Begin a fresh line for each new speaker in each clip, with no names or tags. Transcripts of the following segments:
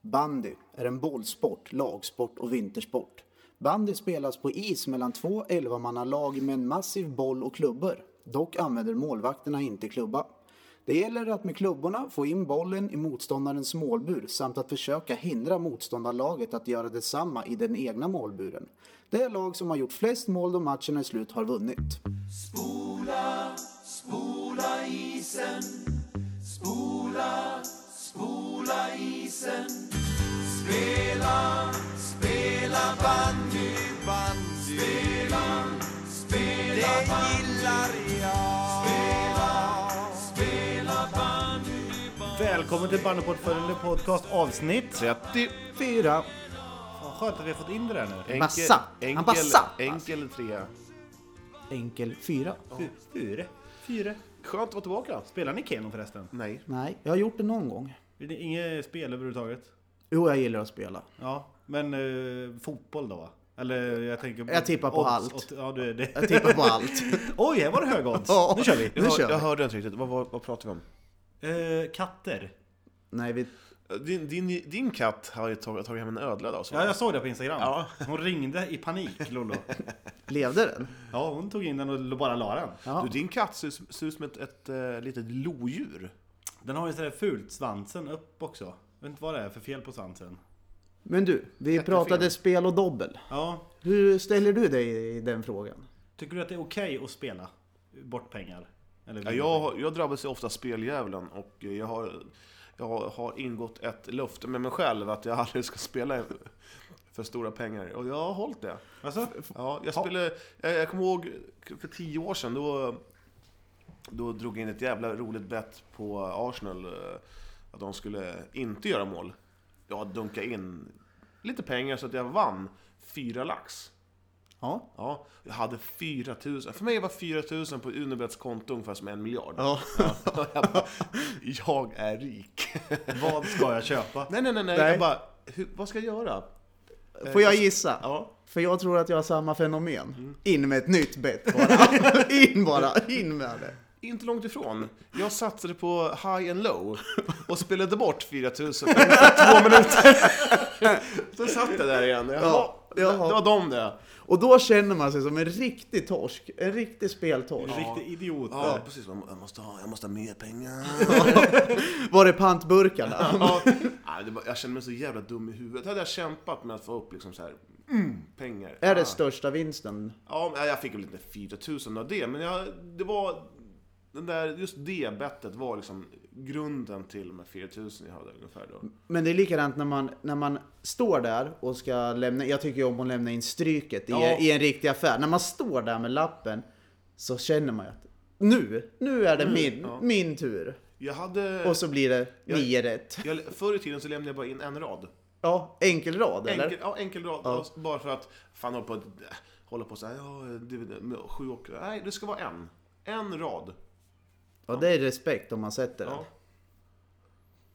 Bandy är en bollsport, lagsport och vintersport. Bandy spelas på is mellan två 11-mannalag med en massiv boll och klubbor. Dock använder målvakterna inte klubba. Det gäller att med klubborna få in bollen i motståndarens målbur samt att försöka hindra motståndarlaget att göra detsamma i den egna målburen. Det lag som har gjort flest mål då matchen är slut har vunnit.
Spola, spola isen. Spola, spola isen. Spela, spela bandy. bandy. Spela, spela det bandy. gillar jag. Spela, spela bandy.
Välkommen till Bandyportföljen podcast avsnitt.
34.
Fan, skönt att vi har fått in det där nu.
Enkel,
Massa. Han
Enkel,
bara satt,
enkel trea.
Enkel 4.
Fyra. Fyra.
Skönt att vara tillbaka.
Spelar ni Keno förresten?
Nej.
Nej, jag har gjort det någon gång.
Det är inget spel överhuvudtaget?
Jo, jag gillar att spela.
Ja, men eh, fotboll då va? Eller jag tänker...
Jag tippar på allt.
ja, du, det.
Jag tippar på allt.
Oj, här var det höga odds.
Ja.
Nu kör vi.
Nu
Jag, hör,
kör vi.
jag hörde inte riktigt. Vad, vad, vad pratar vi om?
Eh, katter.
Nej, vi...
Din, din, din katt har ju tagit, tagit hem en ödla idag. Så.
Ja, jag såg det på Instagram.
Ja.
Hon ringde i panik, Lollo.
Levde den?
Ja, hon tog in den och bara la den.
Ja.
Du, din katt ser, ut- ser ut som ett, ett, eh, litet lodjur.
Den har ju sådär fult svansen upp också. Jag vet inte vad det är för fel på svansen.
Men du, vi
Jättefel.
pratade spel och dobbel.
Ja,
Hur ställer du dig i den frågan?
tycker du att det är okej att spela bort pengar?
Ja,
Eller
jag, jag drabbas ju ofta av speldjävulen och eh, jag har, jag har ingått ett löfte med mig själv att jag aldrig ska spela för stora pengar. Och jag har hållit det.
Alltså?
Ja, jag, spelade, jag, jag kommer ihåg för tio år sedan, då, då drog jag in ett jävla roligt bett på Arsenal. eh, Att de skulle inte göra mål. Jag dunkade in lite pengar så att jag vann fyra lax.
Ja.
Ja, jag hade 4 000. För mig var 4 000 på Unibets konto ungefär som en miljard.
Ja.
Ja, jag, bara, jag är rik.
Vad ska jag köpa?
Nej, nej, nej. nej.
Nej.
Jag bara, hur, vad ska jag göra?
Får jag gissa?
Ja.
För jag tror att jag har samma fenomen. In med ett nytt bett bara. in bara, in med det.
Inte långt ifrån. Jag satsade på high and low och spelade bort 4000 på ungefär två minuter. Så satt jag där igen. Jaha,
Ja, jaha.
Det var de det.
Och då känner man sig som en riktig torsk. En riktig
En
speltorsk.
riktig idiot.
Ja, precis. Jag måste ha, jag måste ha mer pengar.
Var det pantburkarna?
Ja. Nej, det var, jag kände mig så jävla dum i huvudet. Hade jag kämpat med att få upp liksom så här, mm, pengar.
Är
Ah.
det största vinsten?
Ja, men jag fick väl inte 4000 av det, men jag, det var... Den där, just det bettet var liksom grunden till de här 4000 jag hade ungefär då.
Men det är likadant när man, när man står där och ska lämna, jag tycker ju om att lämna in stryket i,
Ja.
i en riktig affär. När man står där med lappen så känner man ju att nu, nu är det
Mm,
min, min tur.
Jag hade...
Och så blir det nio rätt.
Jag, förr i tiden så lämnade jag bara in en rad.
Ja, enkel rad
Enkel,
eller?
ja, enkel rad. Alltså, Bara för att fan hålla på, hålla på så här, ja, divid- med sju och... Nej, det ska vara en. En rad.
Ja, det är respekt om man sätter den.
Ja.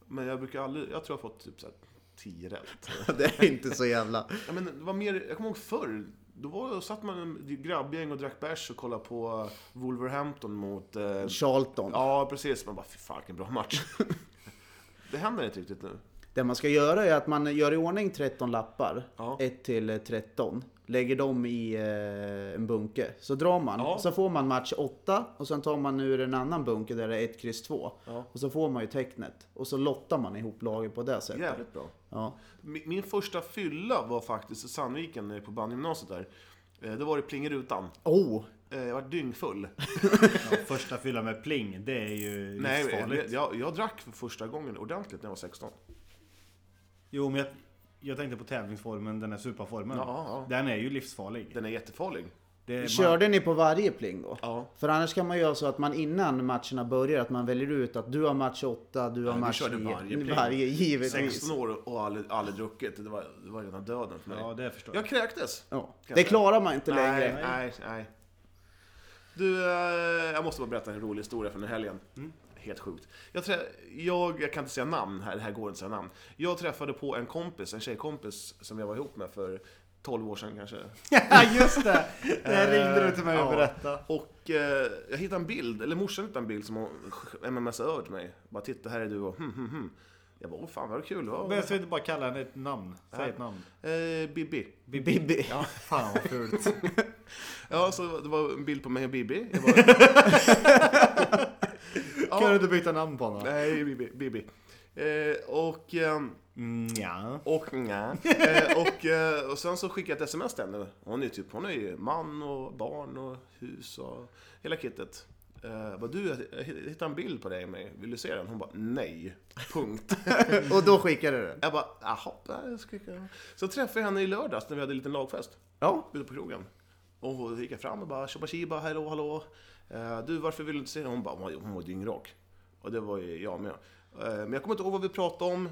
Men jag brukar aldrig, jag tror jag har fått typ så här 10 rätt.
Det är inte så jävla...
Ja, men det var mer, jag kommer ihåg förr, då var, satt man i grabbgäng och drack bärs och kollade på eh, Wolverhampton mot... Eh,
Charlton.
ja, precis. Man bara, fy fan vilken bra match. det händer inte riktigt nu.
Det man ska göra är att man gör i ordning 13 lappar,
Ja.
1 till 13. Lägger dem i eh, en bunke. Så drar man,
Ja.
så får man match 8 och sen tar man ur en annan bunke där det är 1, kryss 2.
Ja.
Och så får man ju tecknet. Och så lottar man ihop lagen på det sättet.
Jävligt bra.
Ja.
Min, min första fylla var faktiskt i Sandviken eh, på bandgymnasiet där. Eh, Då var det pling i rutan.
Oh!
Eh, Jag var dyngfull.
Ja, första fylla med pling, det är ju
Nej,
livsfarligt.
jag, jag, jag drack för första gången ordentligt när jag var 16.
Jo, men jag, jag tänkte på tävlingsformen, den här superformen.
Ja, ja.
Den är ju livsfarlig.
Den är jättefarlig.
Det är man-
Körde ni på varje pling då?
Ja.
För annars kan man göra så att man innan matcherna börjar, att man väljer ut att du har match 8, du har
vi
match
körde
9.
varje pling.
varje givetvis.
16 år och aldrig, aldrig druckit. Det var, det var rena döden för mig.
Ja, det förstår jag.
Jag kräktes.
Ja. Det
Kanske.
klarar man inte
nej,
längre.
Nej, nej. Du, eh, jag måste bara berätta en rolig historia från den helgen.
Mm.
Helt sjukt. Jag, trä- jag, jag kan inte säga namn här, det här går inte att säga namn. Jag träffade på en kompis, en tjejkompis som jag var ihop med för 12 år sedan kanske.
Ja, just det! Det här ringde du till mig och
Eh, Ja.
berättade.
Och eh, jag hittade en bild, eller morsan hittade en bild som hon sk- mmsade över till mig. Bara titta, här är du och hm, hm, hm. Jag bara, åh fan vad kul. Vad,
Men jag ska inte bara kalla henne ett namn. Säg ett namn.
eh, Bibi.
Bibi.
Ja, fan vad fult.
Ja, så det var en bild på mig och Bibi. Jag bara,
Kan du inte byta namn på honom?
nej, Bibi. Bibi. Eh, och... ehm,
Mm, ja.
Och, eh, och, eh, och sen så skickade jag ett sms till henne. Hon är, typ, hon är ju man och barn och hus och hela kittet. Eh, bara, du, jag hittade en bild på dig och mig. Vill du se den? Hon bara, nej. Punkt.
Och då skickade du den?
jag bara, jaha. nej, jag ska inte." Så träffade jag henne i lördags när vi hade en liten lagfest.
Ja.
Ute på krogen. Och då gick jag fram och bara, tjoba tjiba, hallå hallå. Eh, du, varför vill du inte se den? Hon bara, "Hon var- hon var dyngrak. Och det var ju jag med. Eh, men jag kommer inte ihåg vad vi pratade om.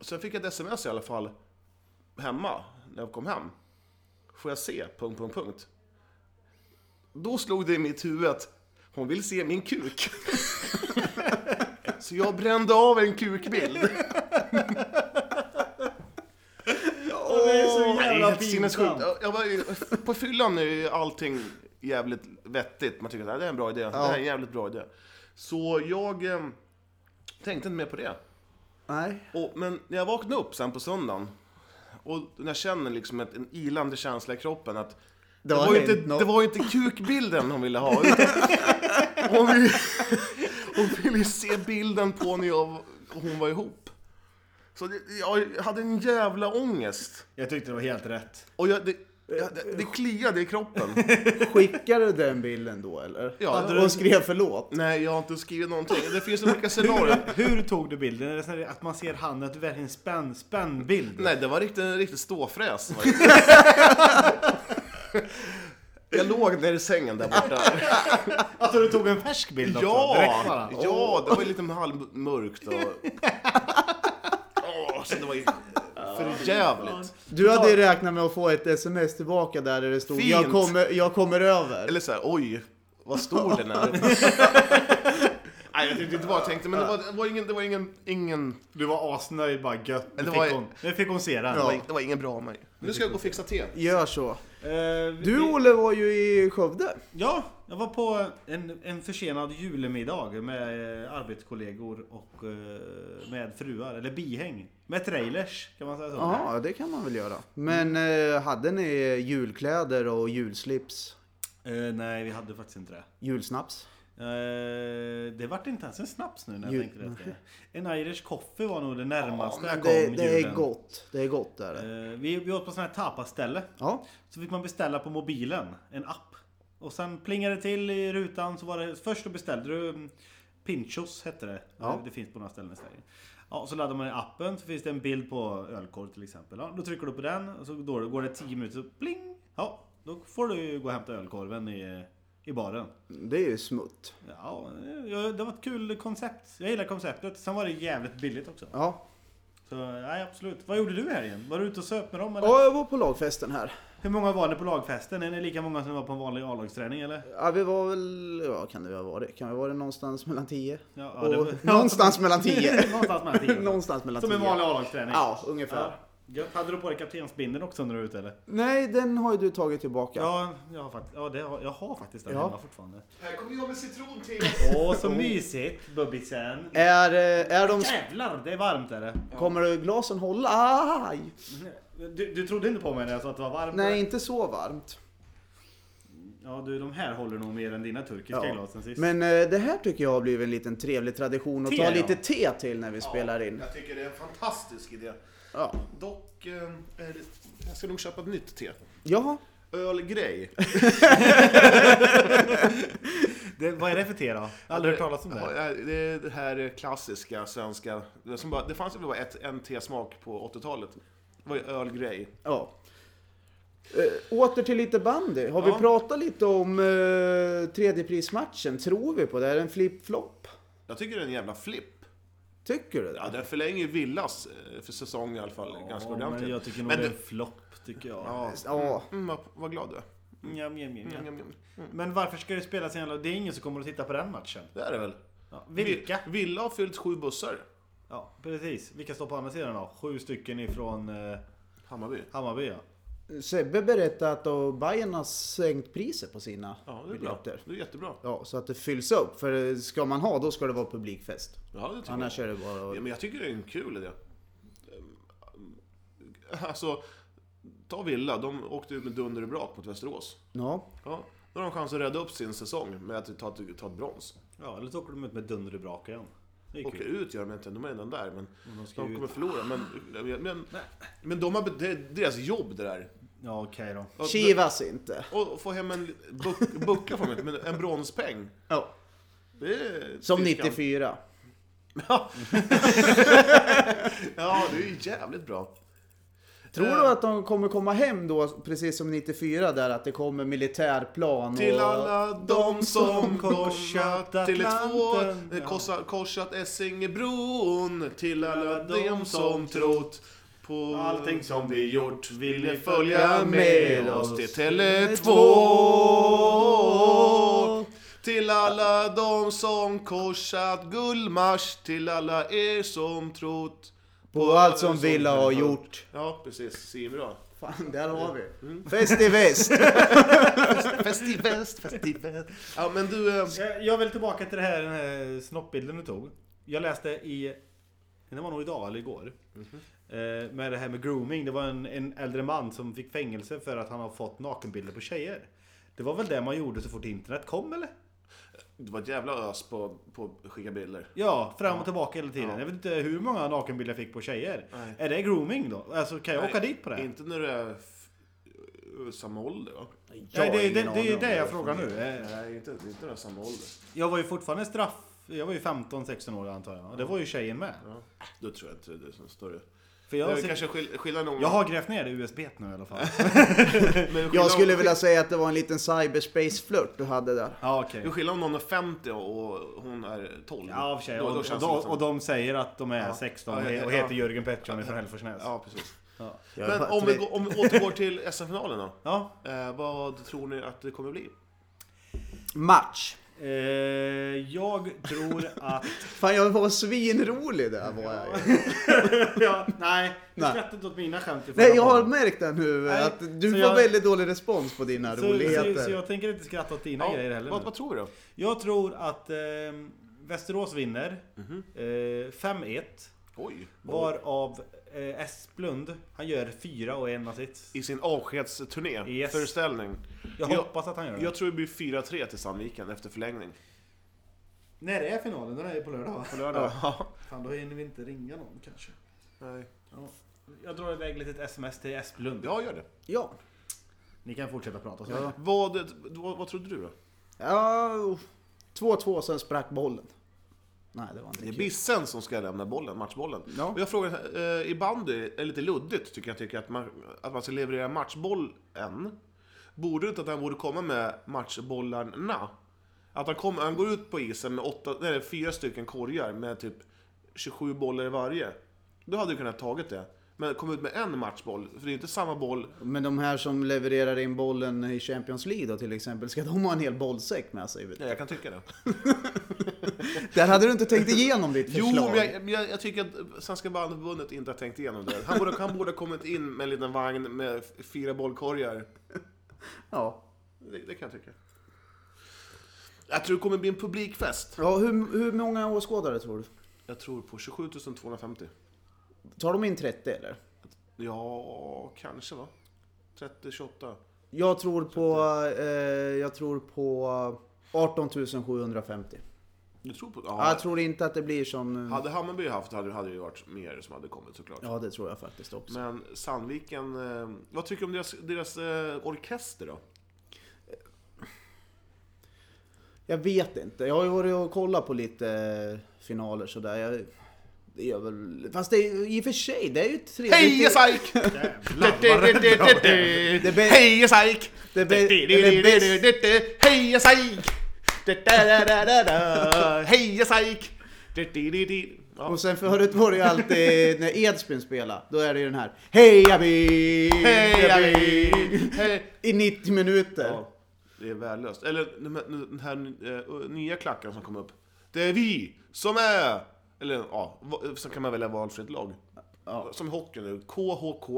Sen fick jag ett sms i alla fall hemma, när jag kom hem. Får jag se? Punkt, punkt, punkt. Då slog det i mitt huvud. Hon vill se min kuk. Så jag brände av en kukbild.
det är så
Åh, det är
jävla
helt sinnessjukt.
pinsamt.
Jag bara, på fyllan är ju allting jävligt vettigt. Man tycker att "Nej, det är en bra idé. Det här är en jävligt bra idé. Så jag eh, tänkte inte mer på det.
Nej.
Och, men när jag vaknade upp sen på söndagen och när jag känner liksom ett, en ilande känsla i kroppen att det,
har
var ju inte,
hänt något.
det var ju inte kukbilden hon ville ha. utan- hon, ville, hon ville ju se bilden på när jag, och hon var ihop. Så det, jag hade en jävla ångest.
Jag tyckte det var helt rätt.
Och jag, det, jag, det, det kliade i kroppen.
Skickade du den bilden då eller?
Ja,
och
det-
skrev förlåt?
Nej, jag har inte skrivit någonting. Det finns olika scenarier.
Hur tog du bilden? Är det så här att man ser handen, att du verkligen spänn, spänn bild?
Nej, det var riktigt, en riktig ståfräs. var det. Jag låg ner i sängen där borta.
Alltså du tog en färsk bild också? Direkt
Ja,
bara.
ja det var ju lite halvmörkt och... Åh, så det var ju för jävligt.
Du hade ju räknat med att få ett sms tillbaka där det stod
Fint.
jag kommer, jag kommer över.
Eller så här, oj, vad stor den är. Nej, jag tänkte inte bara tänkte, men det var, det var, ingen, det var ingen, ingen,
Du var asnöjd bara, gött. Nu,
Det
fick,
var-
hon, nu fick hon se den.
det var, det var ingen bra av mig. Nu ska jag gå och fixa te.
Gör så.
Eh, vi-
Du Olle var ju i Skövde.
Ja, jag var på en, en försenad julemiddag med eh, arbetskollegor och eh, med fruar, eller bihäng. Med trailers, kan man säga så.
Ja, det kan man väl göra. Men eh, hade ni julkläder och julslips?
Eh, nej, vi hade faktiskt inte det.
Julsnaps?
Eh, det vart inte ens en snaps nu när jag
Ju-
tänkte efter. En Irish coffee var nog det närmaste jag kom
Det, det är
julen.
gott. Det är gott är det.
Eh, vi, vi åt på sådana här tapaställe.
Ja.
Så fick man beställa på mobilen, en app. Och sen plingade det till i rutan så var det, först då beställde du mm, Pinchos hette det.
Ja.
Det finns på några ställen i Sverige. Ja, så laddar man i appen så finns det en bild på ölkorv till exempel. Ja, då trycker du på den och så går det- går det 10 minuter så pling! Ja, då får du ju gå och hämta ölkorven i, i baren.
Det är ju smutt.
Ja, ja, det var ett kul koncept. Jag gillar konceptet. Sen var det jävligt billigt också.
Ja.
Så nej, absolut. Vad gjorde du här igen? Var du ute och söp med dem eller?
ja, jag var på lagfesten här.
Hur många var ni på lagfesten? Är ni lika många som var på en vanlig A-lagsträning eller?
Ja, vi var väl, ja kan det ha varit? Kan vi ha varit någonstans mellan 10?
Ja, ja,
Och
det var-
Någonstans mellan 10.
Någonstans mellan tio.
någonstans mellan 10.
Som en vanlig A-lagsträning?
Ja, ungefär.
Gött. Hade du på dig kaptensbindeln också när du var ute eller?
Nej, den har ju du tagit tillbaka.
Ja, jag har, fakt- ja, det har, jag har faktiskt den
Ja.
hemma fortfarande.
Här kommer jag med citron till.
Åh, så mysigt bubbisen.
Är, eh, är de...
Jävlar, det är varmt är det.
Kommer glasen hålla? Aj!
Du, du trodde inte på mig när jag sa att det var varmt?
Nej, inte så varmt.
Ja du, de här håller nog mer än dina turkiska glas sen sist.
Men eh, det här tycker jag har blivit en liten trevlig tradition att
Te,
ta
ja.
lite te till när vi spelar in.
Jag tycker det är en fantastisk idé.
Ja.
Dock, eh, är det, jag ska nog köpa ett nytt te.
Jaha.
Ölgrej.
Det, vad är det för te då? Jag har Aldrig hört talas om det.
Ja, det är det här klassiska svenska. Det, som bara, det fanns väl bara ett, en tesmak på 80-talet. Det var ju ölgrej.
Ja. Eh, åter till lite bandy. Har
Ja.
vi pratat lite om eh, tredjeprismatchen? Tror vi på det? Är det en flip-flop?
Jag tycker det är en jävla flipp.
Tycker du det?
Ja, den förlänger ju Villas eh, för säsong i alla fall ganska
Ja,
ordentligt.
men jag tycker nog
Men
det är
det-
en flopp, tycker jag.
Ja.
Ja.
Mm, vad, vad glad du är.
Njam, njam, njam,
Mm,
njam.
mm, mm.
Men varför ska det spelas en jävla... Det är ingen som kommer att titta på den matchen.
Det är det väl?
Ja, vilka?
Vi- Villa har fyllt sju bussar.
Ja, precis. Vilka står på andra sidan då? Sju stycken ifrån eh,
Hammarby.
Hammarby ja.
Sebbe berättade att då Bayern har sänkt priset på sina
Ja, det är bra.
biljetter.
Det är jättebra.
Ja, så att det fylls upp. För ska man ha, då ska det vara publikfest.
Ja, det tycker
Annars
jag.
är det bara...
Ja, men jag tycker det är en kul idé. Ehm, Alltså, ta Villa. De åkte ut med dunder och brak mot Västerås.
Ja.
Ja, då har de chans att rädda upp sin säsong med att ta, ta ett brons.
Ja, eller så åker de ut med dunder i brak igen. Det är
Åka
kul.
ut gör de inte, de är redan där. Men
de
de,
ska ju
kommer
ut.
förlora. Men, men, men de har, be- det är deras jobb det där.
Ja, okej då.
Ja,
Chivas inte.
Och och få hem en... Buck, bucka från mig, men en bronspeng.
Ja.
Det är
Som
styrkan.
94.
Eh. Ja, det är ju jävligt bra.
Tror du att de kommer komma hem då, precis som 94 där, att det kommer militärplan
Till
och...
alla de som korsat
korsat
till ett
Atlanten.
två, eh, korsat, korsat Essingebron. Till alla de som trott på
Allting som vi gjort vill
ville
ni
följa med oss till
Tele2.
Tele2. Till alla de som korsat Gullmars, till alla er som trott
På allt som Villa har gjort.
Ja, precis. Svinbra.
Fan, där har vi.
Mm.
Fest i väst.
Fest i väst, fest i väst. Ja, men du... eh,
Jag, jag vill tillbaka till det här, den här snoppbilden du tog. Jag läste i, det var nog idag eller igår. Eh, Med det här med grooming. Det var en, en äldre man som fick fängelse för att han har fått nakenbilder på tjejer. Det var väl det man gjorde så fort internet kom eller?
Det var ett jävla ös på, på att skicka bilder.
Ja, fram och tillbaka hela tiden. Jag vet inte hur många nakenbilder jag fick på tjejer.
Nej.
Är det grooming då? Alltså kan jag åka dit på det?
Inte när du är f- samma ålder, va?
Nej, det, det,
Jag har ingen aning
det är
om
det jag frågar nu. Eh,
Nej, inte, inte när du är samma ålder.
Jag var ju fortfarande straff... Jag var ju 15-16 år antar jag. Och det var ju tjejen med.
Ja. Då tror jag inte det är så större.
För jag,
det är
ser-
kanske skill- skillnaden om...
jag har grävt ner det USB t nu i alla fall.
men skillnaden om-
Jag skulle vilja säga att det var en liten cyberspace-flört du hade där.
Ja, okej.
Det är skillnad om någon är 50 och hon är 12.
Ja, i och för sig.
Då, då
och,
känns
och,
det
de,
liksom-
och de säger att de är
Ja.
16
Ja,
och he- och
ja.
heter Jörgen Pettersson från Hälleforsnäs. Ja.
Ja, precis.
Ja.
Jag
Men
bara-
om vi, går, om vi återgår till SM-finalen då.
ja.
Eh, vad tror ni att det kommer bli?
Match.
Eh, jag tror att...
Fan, jag var svinrolig där var jag ju.
ja, nej, du
Nej.
skrattade inte åt mina skämt i förra
Nej, jag har
podden.
märkt det nu.
Nej,
Att du
så
får
jag-
väldigt dålig respons på dina
så, så,
roligheter.
så jag tänker inte skratta åt dina grejer heller.
vad,
nu.
vad tror du då?
Jag tror att eh, Västerås vinner. Eh, 5-1.
Oj.
Varav eh, Esplund, han gör fyra och en assist.
I sin avskedsturné,
Yes.
föreställning.
Jag,
Jag-
hoppas att han gör det.
Jag tror det blir 4-3 till Sandviken efter förlängning.
När är finalen? Den är ju på lördag va?
På lördag. Ja.
Fan, då hinner vi inte ringa någon kanske.
Nej.
Ja. Jag drar iväg lite sms till Esplund.
Ja, gör det.
Ja.
Ni kan fortsätta prata. Så.
Ja.
Vad, vad, vad trodde du då?
Ja, uff. 2-2 sen sprack bollen. Nej, det var inte
Det är
kul.
Bissen som ska lämna bollen, matchbollen.
Ja.
Och jag frågar, eh, i bandy är det lite luddigt tycker jag, tycker att, man, att man ska leverera matchbollen. Borde det inte att han borde komma med matchbollarna? Att han, kom, han går ut på isen med åtta, nej, fyra stycken korgar med typ 27 bollar i varje. Då hade du kunnat tagit det. Men kom ut med en matchboll, för det är inte samma boll.
Men de här som levererar in bollen i Champions League då till exempel, ska de ha en hel bollsäck med sig?
Ja, jag kan tycka det.
Där hade du inte tänkt igenom ditt
Jo,
förslag.
men jag, men jag, jag tycker att Svenska bandförbundet inte har tänkt igenom det. Han borde, han borde ha kommit in med en liten vagn med f- fyra bollkorgar.
Ja.
Det, det kan jag tycka. Jag tror det kommer bli en publikfest.
ja hur, hur många åskådare tror du?
Jag tror på 27 250.
Tar de in 30 eller?
Ja, kanske va? 30, 28.
Jag tror på, eh, jag tror på 18 750.
Du tror på...
Ja,
Ja.
jag tror inte att det blir som... eh,
Hade Hammarby haft hade, hade det ju varit mer som hade kommit såklart.
Ja, det tror jag faktiskt också.
Men Sandviken, eh, vad tycker du om deras, deras eh, orkester då?
Jag vet inte. Jag har ju varit och kollat på lite eh, finaler sådär. Jag, det gör väl... Fast det är, i och för sig, det är ju trevligt.
Heja SAIK!
Det bä-
Heja SAIK!
Det bä- eller bäst-
Heja SAIK! Heja SAIK! Ja.
Och sen förut var det ju alltid när Edsbyn spelade, då är det ju den här Heja vi!
Heja SAIK! Hej-
I 90 minuter.
Ja, det är värdelöst. Eller den här- den här eh, nya klacken som kom upp. Det är vi som är... Eller ja, va- så kan man välja valfritt lag.
Ja.
Som i hockeyn nu. KHK.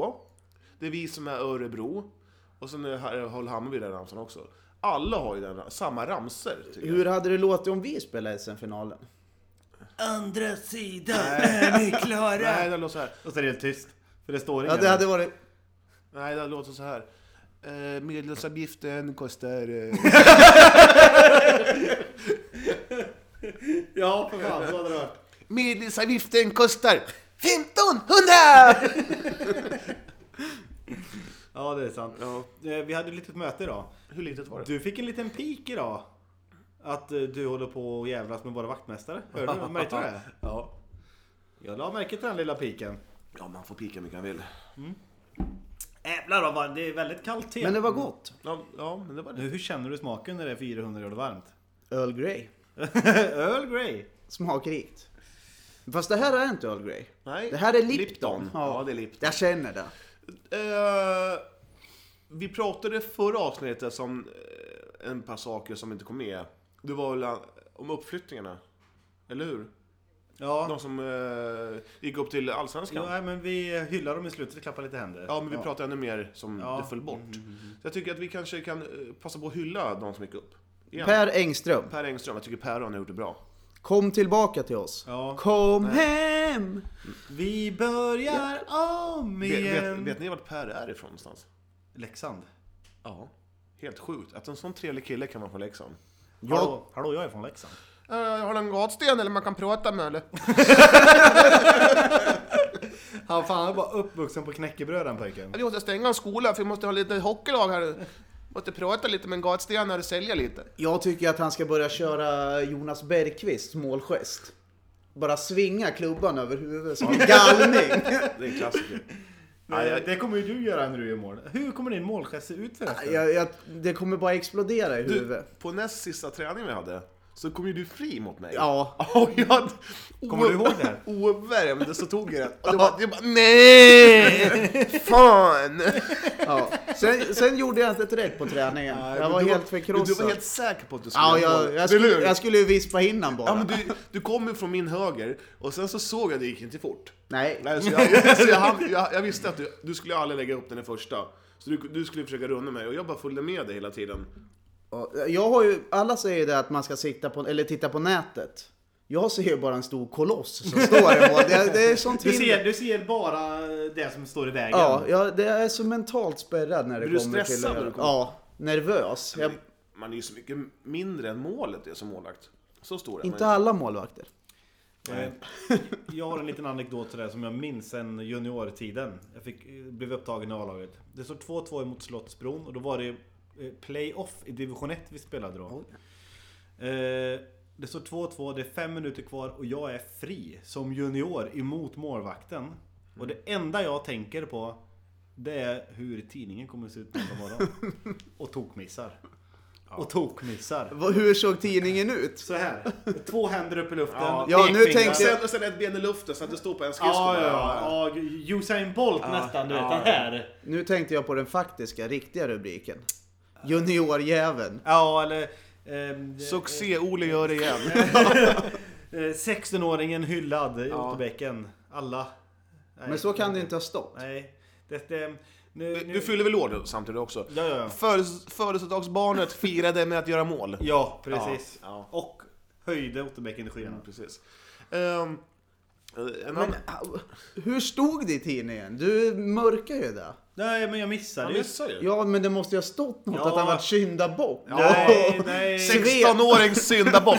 Det är vi som är Örebro. Och sen är- här har Hammarby den ramsan också. Alla har ju den, ra- samma ramsor. tycker jag.
Hur hade det låtit om vi spelade SM-finalen?
Andra sidan är ni klara?
Nej, det låter så här.
Och så är det helt tyst. För det står
Ja,
inget.
det hade varit...
Nej, det låter så här. Eh, medlemsavgiften kostar... Eh...
Ja, för fan. Så hade det varit.
Medlemsavgiften kostar 1500!
Ja, det är sant.
Ja.
Eh, Vi hade ett litet möte idag.
Hur litet var det?
Du fick en liten pik idag. Att eh, du håller på och jävlas med våra vaktmästare. Hörde du? Märkte du det?
Ja.
Jag la märke till den lilla piken.
ja, man får pika mycket man vill.
Jävlar då, vad- det är väldigt kallt te.
Men det var gott.
Ja, ja men det var det.
Nu, Hur känner du smaken när det är 400 grader varmt?
Earl Grey.
Earl Grey!
Smakrikt. Fast det här är inte Earl Grey.
Nej.
Det här är Lipton.
Ja. det är Lipton.
Jag känner det.
Eh, vi pratade förra avsnittet som eh, en par saker som inte kom med. Det var väl eh, om uppflyttningarna. Eller hur?
Ja,
De som eh, gick upp till
jo,
Allsvenskan.
nej, men vi hyllar dem i slutet och klappar lite händer.
Ja, Mm, men vi pratar ännu mer som
Ja.
det föll bort. Så jag tycker att vi kanske kan eh, passa på att hylla de som gick upp. Igen. Per,
Per Engström.
Engström, jag tycker Per har gjort det bra.
Kom tillbaka till oss.
Ja.
Kom hem!
Vi börjar om
Vet,
igen!
vet, vet ni vart Per är ifrån någonstans?
Leksand.
Ja. Helt sjukt, att en sån trevlig kille kan vara från Leksand.
Hallå, hallå, jag är från Leksand.
Eh, har du en gatsten eller man kan prata med eller?
Han, fan, han är bara uppvuxen på knäckebröd den pojken.
Vi måste stänga en skola för vi måste ha lite hockeylag här. Måste prata lite med en gatsten här och sälja lite.
Jag tycker att han ska börja köra Jonas Bergqvists målgest. Bara svinga klubban över huvudet som en galning.
Det är en klassiker.
Nej, jag- Eh, det kommer ju du göra när du gör mål. Hur kommer din målgest se ut förresten?
jag, jag, det kommer bara explodera i
Du,
huvudet.
på näst sista träningen vi hade så kom ju du fri mot mig.
Ja.
Och jag,
Kommer du ihåg det här?
Ouppvärmd så tog jag den. Och det var, jag bara nej! Fan!
Ja. Sen, sen gjorde jag inte ett rätt på träningen. jag
Men
var
du
helt
men Du
förkrossad.
var helt säker på att du skulle
Ja,
göra
jag,
mål.
jag,
Eller
skulle,
hur?
jag skulle ju vispa hinnan bara.
Ja, men du, du kom ju från min höger och sen så såg jag att det gick inte fort.
Nej.
Nej, så jag, så jag, hann- jag, jag visste att du, du skulle aldrig lägga upp den i första. Så du, du skulle försöka runda mig och jag bara följde med dig hela tiden.
Ja, Jag har ju, alla säger det att man ska sikta på, eller titta på nätet. Jag ser ju bara en stor koloss som står i mål. Det, det är sånt
Du
hinder.
ser, du ser bara det som står i vägen.
Ja, jag det är så mentalt spärrad när det
Blir du
kommer till
stressad när du kommer?
Ja, nervös. Jag,
Man är ju så mycket mindre än målet är som målvakt. Så stor är
inte
man
alla målvakter.
Eh, Jag har en liten anekdot till det här som jag minns sen juniortiden. Jag fick, eh, blev upptagen i A-laget. Det står 2-2 mot Slottsbron och då var det eh, playoff i division 1 vi spelade då. Eh, Det står 2-2, det är fem minuter kvar och jag är fri som junior emot målvakten. Och det enda jag tänker på det är hur tidningen kommer att se ut nästa morgon. Och tokmissar. Och tokmissar.
Vad- Hur såg tidningen ut?
Så här. Två händer upp i luften.
Ja.
Ja, nu
pekfingrar.
Och
tänkte
sen, och sen ett ben i luften så att det står på en skridsko.
Ja,
bara.
ja, ja. Usain Bolt nästan, du vet. Den här.
Nu tänkte jag på den faktiska, riktiga rubriken. Juniorjäveln.
Ja, eller... ehm,
Succé-Ole gör det igen.
Eh, 16-åringen hyllad i Otterbäcken. Alla. Nej,
Men så kan det inte ha stått.
Nej. Det, det, nu,
Du,
nu,
du fyller väl år då samtidigt också?
Ja, ja, ja.
Födelses- Födelsedagsbarnet firade med att göra mål.
Ja, precis.
Ja,
Och höjde Otterbäcken i skyarna.
Precis. Ehm, en
Men,
annan,
au, hur stod det i tidningen? Du mörkar ju det.
Nej, men jag missade
han
ju.
missar ju.
Ja, men det måste ju ha stått något
Ja.
att han var syndabock.
Nej, nej.
Sex-
16-åring syndabock!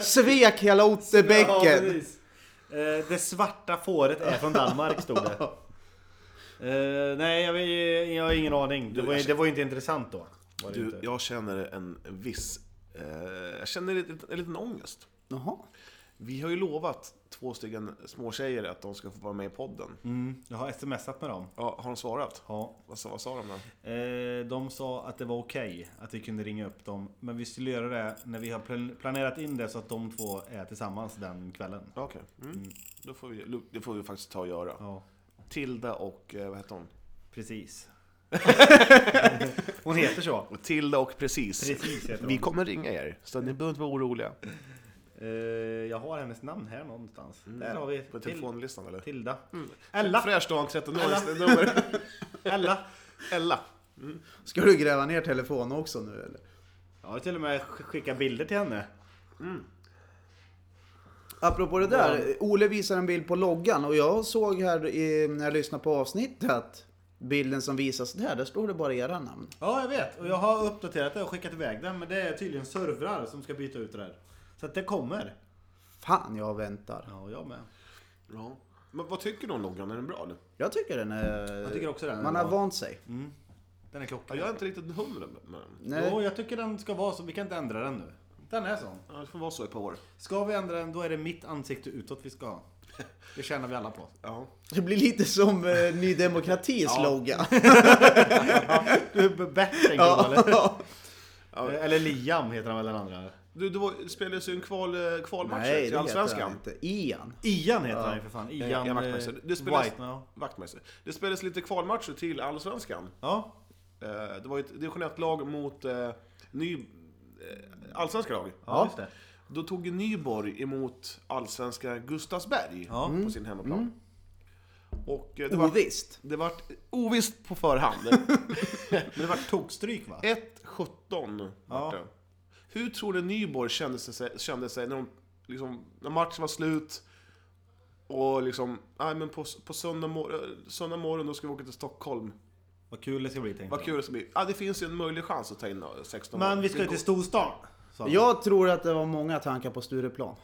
Svek hela
Ja,
Otterbäcken.
precis. Eh, det svarta fåret är från Danmark, stod det. Eh, nej, jag, jag har ingen aning. Det var, ju- det var ju inte intressant då. Var det
alltså- Du,
inte.
jag känner en viss... Eh, jag känner en, en liten ångest.
Jaha.
Vi har ju lovat två stycken småtjejer att de ska få vara med i podden.
Mm, jag har smsat med dem.
Ja, har de svarat?
Ja.
Vad sa, vad sa de då?
Eh, de sa att det var okej att vi kunde ringa upp dem. Men vi skulle göra det när vi har plan- planerat in det så att de två är tillsammans den kvällen.
Ja, Okej. Mm. Då får vi, det får vi faktiskt ta och göra.
Ja,
Tilda och... eh, Vad heter hon?
precis. Hon heter så.
Tilda och Precis.
Precis heter
Vi
hon.
kommer ringa er, så ni behöver inte vara oroliga.
Eh, jag har hennes namn här någonstans. Där har vi
Mm. På
Til-
telefonlistan eller?
Tilda. Ella!
Fräsch dag, 13 år, nummer.
Ella!
Ella.
Ska du gräva ner telefon också nu eller?
Jag har till och med sk- skickat bilder till henne.
Apropå det där, Ole visar en bild på loggan och jag såg här i, när jag lyssnade på avsnittet att bilden som visas där, där står det bara era namn.
Ja, jag vet. Och jag har uppdaterat det och skickat iväg den. Men det är tydligen servrar som ska byta ut det där. Så att det kommer.
Fan, jag väntar.
Ja, och jag med.
Ja. Men vad tycker du om loggan? Är den bra eller?
Jag tycker den är...
Jag tycker också den är
Man har
bra. Mm.
vant sig.
Den är
Ja,
klockan.
jag är inte riktigt hundra med den.
Nej.
Jo, jag tycker den ska vara så. Vi kan inte ändra den nu. Den är sån.
Ja, det får vara så i ett par år.
Ska vi ändra den, då är det mitt ansikte utåt vi ska ha. Det tjänar vi alla på.
Ja.
Det blir lite som eh, Ny Demokratis logga.
Du är bättre än
Ja.
eller? eller Liam heter han väl den andra?
Du, det var, spelades ju en kval, eh, kvalmatch
Nej, det
Nej,
heter
till
han
Allsvenskan.
inte. Ian.
Ian heter han ju för fan. Ian
Ja,
eh,
Wachtmeister. Det spelades,
White. Ja.
Wachtmeister. Det spelades lite kvalmatcher till Allsvenskan.
ja.
Eh, Det var ju ett division 1-lag mot eh, ny, eh, allsvenska lag.
Ja, just det.
Då tog ju Nyborg emot allsvenska Gustavsberg
Ja. Mm.
på sin hemmaplan. Och eh, det var,
Ovisst.
det var ovisst på förhand.
Men det var tokstryk va?
1-17 vart
Ja.
det. Hur tror du Nyborg kände sig, kände sig när, de, liksom, när matchen var slut? Och liksom, nej men på, på söndag, mor- eh, söndag morgon då ska vi åka till Stockholm.
Vad kul det ska bli tänkte
Vad kul det ska bli. Ja, det finns ju en möjlig chans att ta in eh, 16
jag. Men
år.
vi ska ju till storstan. sa han.
Jag tror att det var många tankar på Stureplan.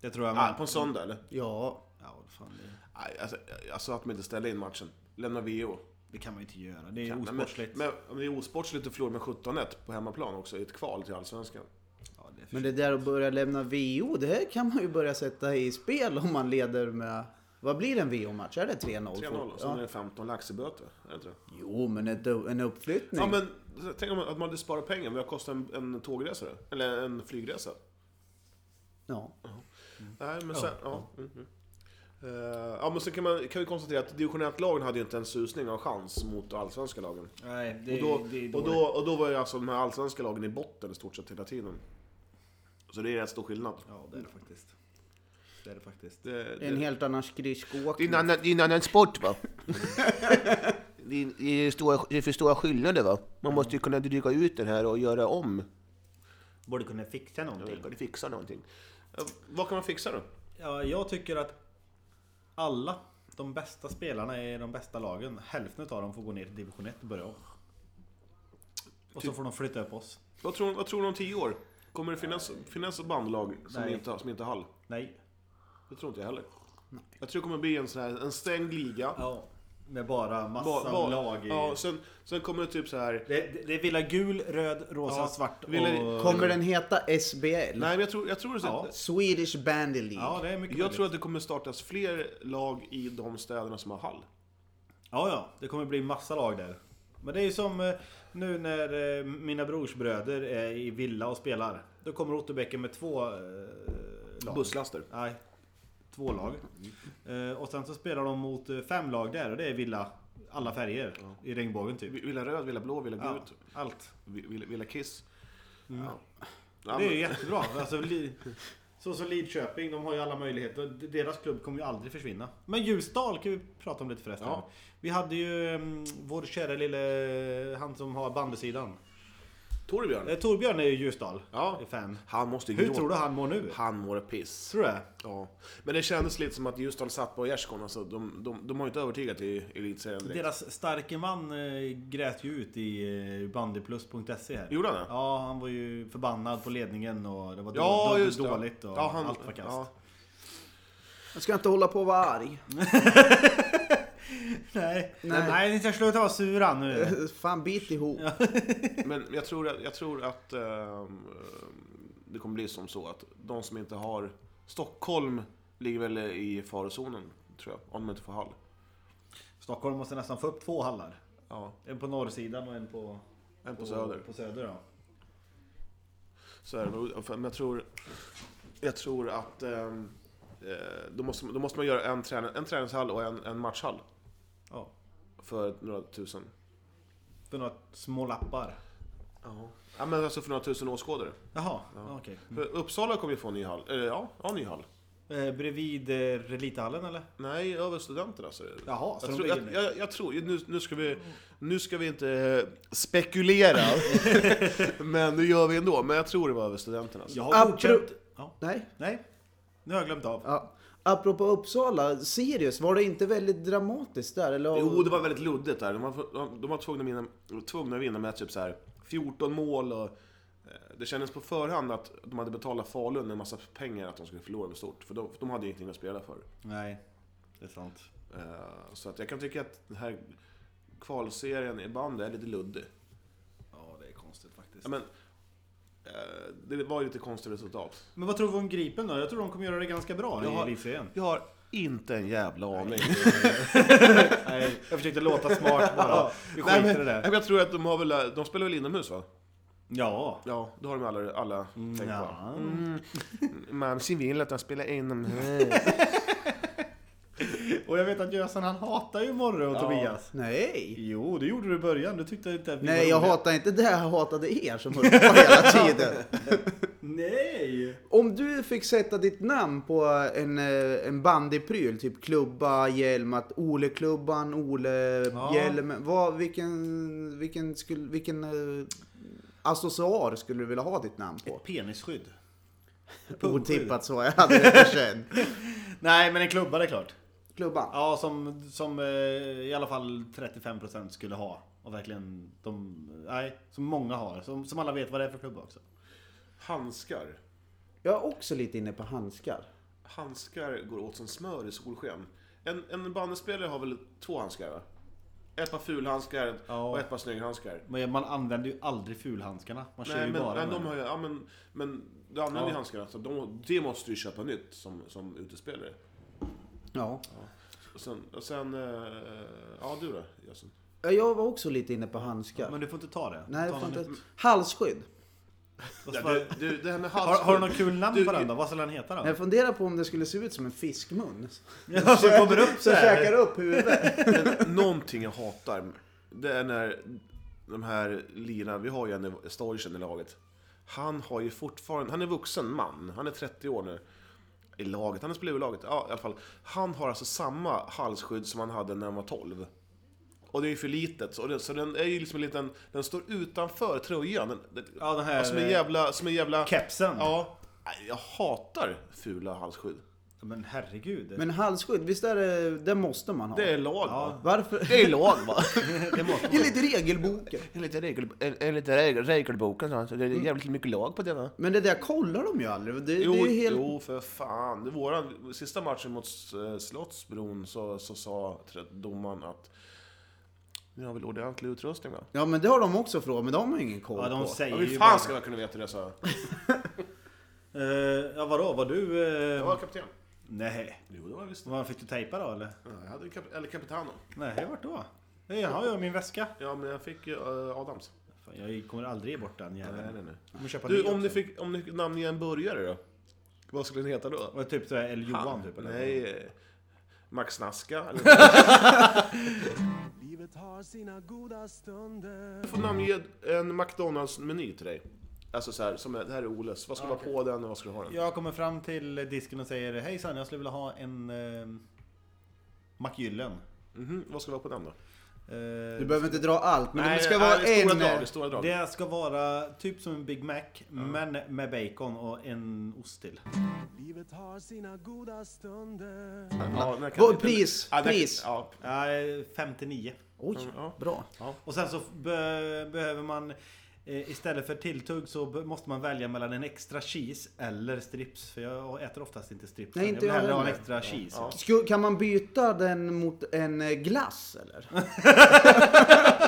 Det tror jag
Ja,
med.
på en söndag eller?
Ja.
Ja, vad fan det,
Nej, alltså, alltså att man inte ställer in matchen. Lämna VO.
det kan man ju inte göra. Det är
Ja, men-
osportsligt.
Men, men det är osportsligt att förlora med 17-1 på hemmaplan också i ett kval till Allsvenskan.
ja, det är för...
Men det där att börja lämna VO, det här kan man ju börja sätta i spel om man leder med... Vad blir en VO-match? Är det 3-0?
3-0 och sen är
ja.
det 15 lax i böter. Är det inte det?
Jo, men ett, en uppflyttning.
Ja, men tänk om att man hade sparat pengar. Vad kostar en, en tågresa då? Eller en flygresa?
Ja.
Nej, men sen... Ja. mhm. Eh, ja, men sen kan, man, kan vi konstatera att division 1-lagen hade ju inte en susning av chans mot allsvenska lagen.
Nej, det är,
Och då,
det är
och,
dåligt.
då, och då var ju alltså de här allsvenska lagen i botten i stort sett hela tiden. Så det är rätt stor skillnad.
Ja, det är det faktiskt. Det är det faktiskt.
Det,
En helt annan skridskoåkning.
annan, det är en annan sport va?
Det är, det, är stora, det är för stora skillnader va? Man måste ju kunna dryga ut den här och göra om.
Borde kunna fixa någonting.
Kan du fixa någonting?
Vad kan man fixa då?
Ja, jag tycker att alla de bästa spelarna i de bästa lagen, hälften av dem får gå ner till division 1 och börja om. Och så får de flytta upp oss.
Vad tror, vad tror du om tio år? Kommer det finnas, finnas ett bandlag som
Nej.
inte, har- som inte har hall?
Nej.
Det tror inte jag heller. Jag tror det kommer bli en sån här, en stängd liga.
Ja. Med bara
Ba-
massa
ba-
lag i...
ja, sen, sen kommer det typ så här.
Det, det- det är villa gul, röd, rosa,
Ja,
svart och...
villa-
Kommer den heta SBL?
Nej men jag tror, jag tror, så,
Ja.
Swedish Bandy League.
Ja, det är mycket
jag tror
möjligt.
att det kommer startas fler lag i de städerna som har hall.
Ja, ja. Det kommer bli massa lag där. Men det är ju som eh, nu när eh, mina brorsbröder är i villa och spelar. Då kommer Otterbäcken med två eh, lag.
Busslaster.
Nej, två lag. Eh, och sen så spelar de mot eh, fem lag där och det är Villa, alla färger i regnbågen typ.
Villa röd, villa blå, villa
Ja,
gult,
allt. Mm.
vi- villa, villa kiss. Ja. Ja,
Det är ju
men,
jättebra. Alltså, li, så som Lidköping, de har ju alla möjligheter. D- Deras klubb kommer ju aldrig försvinna. Men Ljusdal kan vi prata om lite förresten.
Ja.
Vi hade ju mm, vår kära lille, han som har bandysidan.
Torbjörn.
Eh, Torbjörn är ju Ljusdal.
Ja.
Är fan.
Han måste ju
Hur
gråta.
tror du han mår nu?
Han mår piss.
Tror du det?
Ja, men det kändes lite som att Ljusdal satt på gärdsgården. Alltså, de, de, de har ju inte övertygat i elitserien direkt.
Deras starke man eh, grät ju ut i eh, bandyplus.se här.
Gjorde han det?
Ja, han var ju förbannad på ledningen och det var
Ja,
då, då,
just det.
dåligt och
Ja, han-
allt var kast.
ja.
Jag ska inte hålla på och vara arg.
Nej. Nej.
Nej.
ni ska sluta vara sura nu.
Fan, bit ihop.
Men jag tror att, jag tror att ehm, det kommer bli som så att de som inte har... Stockholm ligger väl i farozonen, tror jag. Om de inte får hall.
Stockholm måste nästan få upp två hallar.
Ja,
En på norrsidan och en på,
en på,
Oh.
söder.
På söder ja.
Så är det. nog. För- Men jag tror, jag tror att ehm, eh, då, måste, då måste man göra en, träning, en träningshall och en, en matchhall.
ja.
För några tusen.
För några små lappar.
Ja. ja, men alltså för några tusen åskådare.
Jaha, okej.
För Uppsala kom ju få en ny hall. Eller ja, ja, en ny hall.
Eh, bredvid eh, Relitahallen eller?
Nej, över studenterna säger du.
Jaha, så
jag
de
tror,
bygger
jag,
nu.
jag, jag tror nu, nu, ska vi, nu ska vi inte eh, spekulera, men nu gör vi ändå. Men jag tror det var över studenterna. alltså.
Jag har
Apro-
godkänt... Ja.
Nej.
Nej, nu har jag glömt av.
Ja. Apropå Uppsala, Sirius, var det inte väldigt dramatiskt där? Eller?
Jo, det var väldigt luddigt där. De var, de var tvungna, att vinna, tvungna att vinna med typ så här 14 mål och eh, det kändes på förhand att de hade betalat Falun en massa pengar att de skulle förlora med stort. För de, för de hade ingenting att spela för.
Nej, det är sant.
Eh, Så att jag kan tycka att den här kvalserien i bandy är lite luddig.
Ja, det är konstigt faktiskt.
Ja, men, eh, det var ju lite konstigt resultat.
Men vad tror du om Gripen då? Jag tror de kommer göra det ganska bra
Jag
i
har-
elitserien.
Jag har inte en jävla aning.
Nej, jag försökte låta smart bara. Vi skiter
men,
i det.
men jag tror att de har väl, eh, de spelar väl inomhus va? Mm,
Ja.
Ja, då har de alla, alla tänkt på.
ja.
Mamsen vill att de spelar inomhus.
Och jag vet att Gösen han hatar ju Morre och Tobias.
Nej!
Jo, det gjorde du i början. Du tyckte inte att vi
Nej,
var
jag
roliga.
hatar inte det, jag hatade er som höll på hela tiden.
Nej!
Om du fick sätta ditt namn på en, eh, en bandypryl, typ klubba, hjälm, att Ole-klubban,
Ja.
Ole-hjälmen. Vad, vilken, vilken, skulle, vilken eh, accessoar skulle du vilja ha ditt namn på?
Ett penisskydd.
Otippat så, jag hade det sen.
Nej, men en klubba det är klart.
Klubban?
Ja, som, som eh, i alla fall 35% skulle ha. Och verkligen de... Nej, som många har. Som, som alla vet vad det är för klubba också.
Handskar.
Jag är också lite inne på handskar.
Handskar går åt som smör i solsken. En, en bandespelare har väl två handskar va? Ett par fulhandskar
Ja.
och ett par snygghandskar.
Men man använder ju aldrig fulhandskarna. Man kör
Nej
ju
men,
bara
men
med
de har ju, ja men, men du använder ju
Ja.
handskarna så de, det måste du köpa nytt som, som utespelare.
Ja.
Och sen, och sen eh, ja du då Jösen?
Ja, Jag var också lite inne på handskar.
Men du får inte ta det.
Nej,
ta
fan
någon-
inte. Halsskydd.
Vad ska-
Du, du, det här med
Har,
halsskydd.
har du något kul namn
Du-
på den då? Vad skulle den heta
Men
då?
Jag funderar på om det skulle se ut som en fiskmun.
Ja, så kommer upp så
Som käkar
här.
upp huvudet.
Men någonting jag hatar, det är när de här lirarna, vi har ju en i- Storchen i laget. Han har ju fortfarande, han är vuxen man, han är 30 år nu. I laget, han har spelat i laget, ja i alla fall. Han har alltså samma halsskydd som han hade när han var 12. Och det är ju för litet, så, det, så den är ju liksom en liten, den står utanför tröjan. Den, den,
Ja, den här
som en
eh,
jävla, som en jävla...
kepsen.
Ja. Nej, Jag hatar fula halsskydd.
Men herregud.
Men halsskydd, visst är det, det måste man ha?
Det är lag va?
Ja.
Varför?
Det är lag va?
Enligt regelboken.
Enligt regel, enligt regel, regelboken så alltså, det är jävligt mycket lag på det va?
Men det där kollar de ju aldrig. Det,
Jo,
det är ju helt...
jo, för fan. Det våran sista matchen mot eh, Slottsbron så, så sa tr- domaren att ni har väl ordentlig utrustning va?
Ja men det har de också frågat, men de har ju ingen koll
Ja, de
på.
Ja,
säger
hur
ju
fan
bara...
ska jag kunna veta det, så
Eh, ja, vadå? Var du... eh,
Jag var kapten.
Nej.
Jo, det var jag visst.
Vad fick du tejpa då eller?
Ja, Jag hade kap eller kapitano.
Nej, vart då? Nej, jag har ju min väska.
Ja, men jag fick ju eh, Adams.
Fan, jag kommer aldrig ge bort den jäveln.
nej, nej.
Jag kommer köpa
Du,
ny
om ni
också.
fick, om ni fick namnge en burgare då? Vad skulle den heta då?
Och typ såhär El Johan typ eller?
Nej, eh, Max Naska. Eller...
Livet har sina goda stunder.
Jag får namnge en McDonalds-meny till dig. Alltså så här, som är, det här är Oles. Vad ska vara på den och vad ska du ha den?
Jag kommer fram till disken och säger Hejsan, jag skulle vilja ha en... Eh, McGyllen.
Mhm, vad ska vara på den då?
Eh,
Du behöver inte dra allt, men
Nej,
det ska
nej,
vara
det är stora
en... eh,
Drag, det är stora drag.
Det ska vara typ som en Big Mac, men med bacon och en ost till.
Livet har sina goda stunder.
Ja, den här kan
Vad-
vi-
pris,
den-
pris.
Ja,
Nej, 59.
Oj,
Ja.
bra.
Och sen så be- behöver man eh, istället för tilltugg så be- måste man välja mellan en extra cheese eller strips. För jag äter oftast inte strips.
Nej,
jag
inte
vill
jag
hellre ha en
heller.
extra cheese. Ja.
Sku- Kan man byta den mot en eh, glass eller?
ja,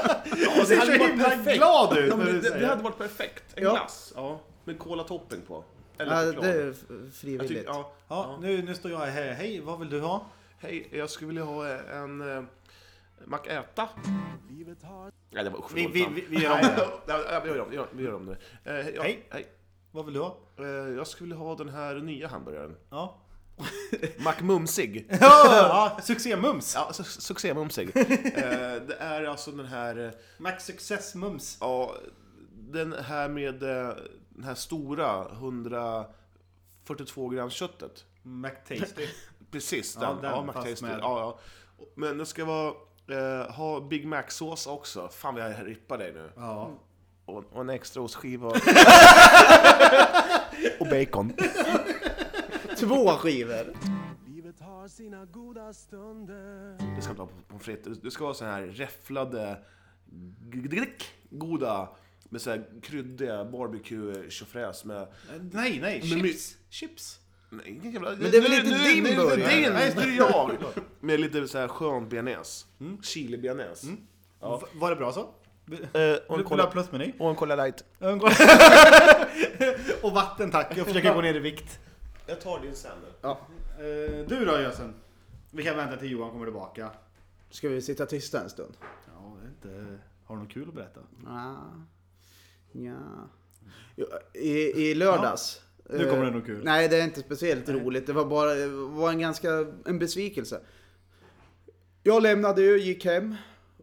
det hade varit perfekt.
glad ut
Ja,
när
men
du
det,
säger
det
det.
hade varit perfekt. En
Ja.
glass. Ja. Med cola topping på. Eller
Ja,
choklad.
det är f-
jag
frivilligt.
tycker, ja,
Ja, nu, nu står jag här. Hej, vad vill du ha?
Hej, jag skulle vilja ha en eh, macäta.
Livet har...
Nej, det var usch,
Vi,
vad
vi,
fan.
vi, vi gör om det.
Nej, nej, Vi gör om- vi gör- vi gör om det. Eh, ja,
Hej.
hej.
Vad vill du ha?
Eh, Jag skulle vilja ha den här nya hamburgaren.
Ja.
McMumsig.
ja succémums!
Ja, su- succé-mumsig. Eh, Det är alltså den här... eh,
Max Success Mums.
Ja, den här med eh, den här stora 142 gram köttet.
McTasty.
Precis,
Ja,
den.
den,
Ja,
fast
McTasty.
med-
Ja, ja. Men det ska vara, eh, ha Big Mac-sås också. Fan vad jag rippar dig nu.
Ja.
Och, och en extra ostskiva.
Och bacon.
Två skivor!
Livet har sina goda stunder.
Det ska inte vara pommes frites. Det ska vara så här räfflade, grick, goda, med så här kryddiga barbecue tjofräs med...
Nej, nej.
Men my-
Chips. Chips.
Nej, ingen jävla...
Men det är väl
nu-
inte
nu-
din
nu är det
burgare?
din, Nej, det är jag! Med lite så här skön bearnaise.
Mm.
Chili bearnaise.
V- Var det bra så? Vill
Eh, och
vill
en
du ha
cola,
plusmeny?
och en cola light.
Och vatten tack, jag försöker gå ner i vikt.
Jag tar din sen.
Eh, Du då Jösen? Vi kan vänta till Johan kommer tillbaka.
Ska vi sitta tysta en stund?
Ja, jag vet inte. Har du något kul att berätta?
Ah. Ja. Jo, I, I lördags.
Nu kommer det
eh,
nog kul.
Nej, det är inte speciellt roligt. Det var bara det var en ganska en besvikelse. Jag lämnade ju, gick hem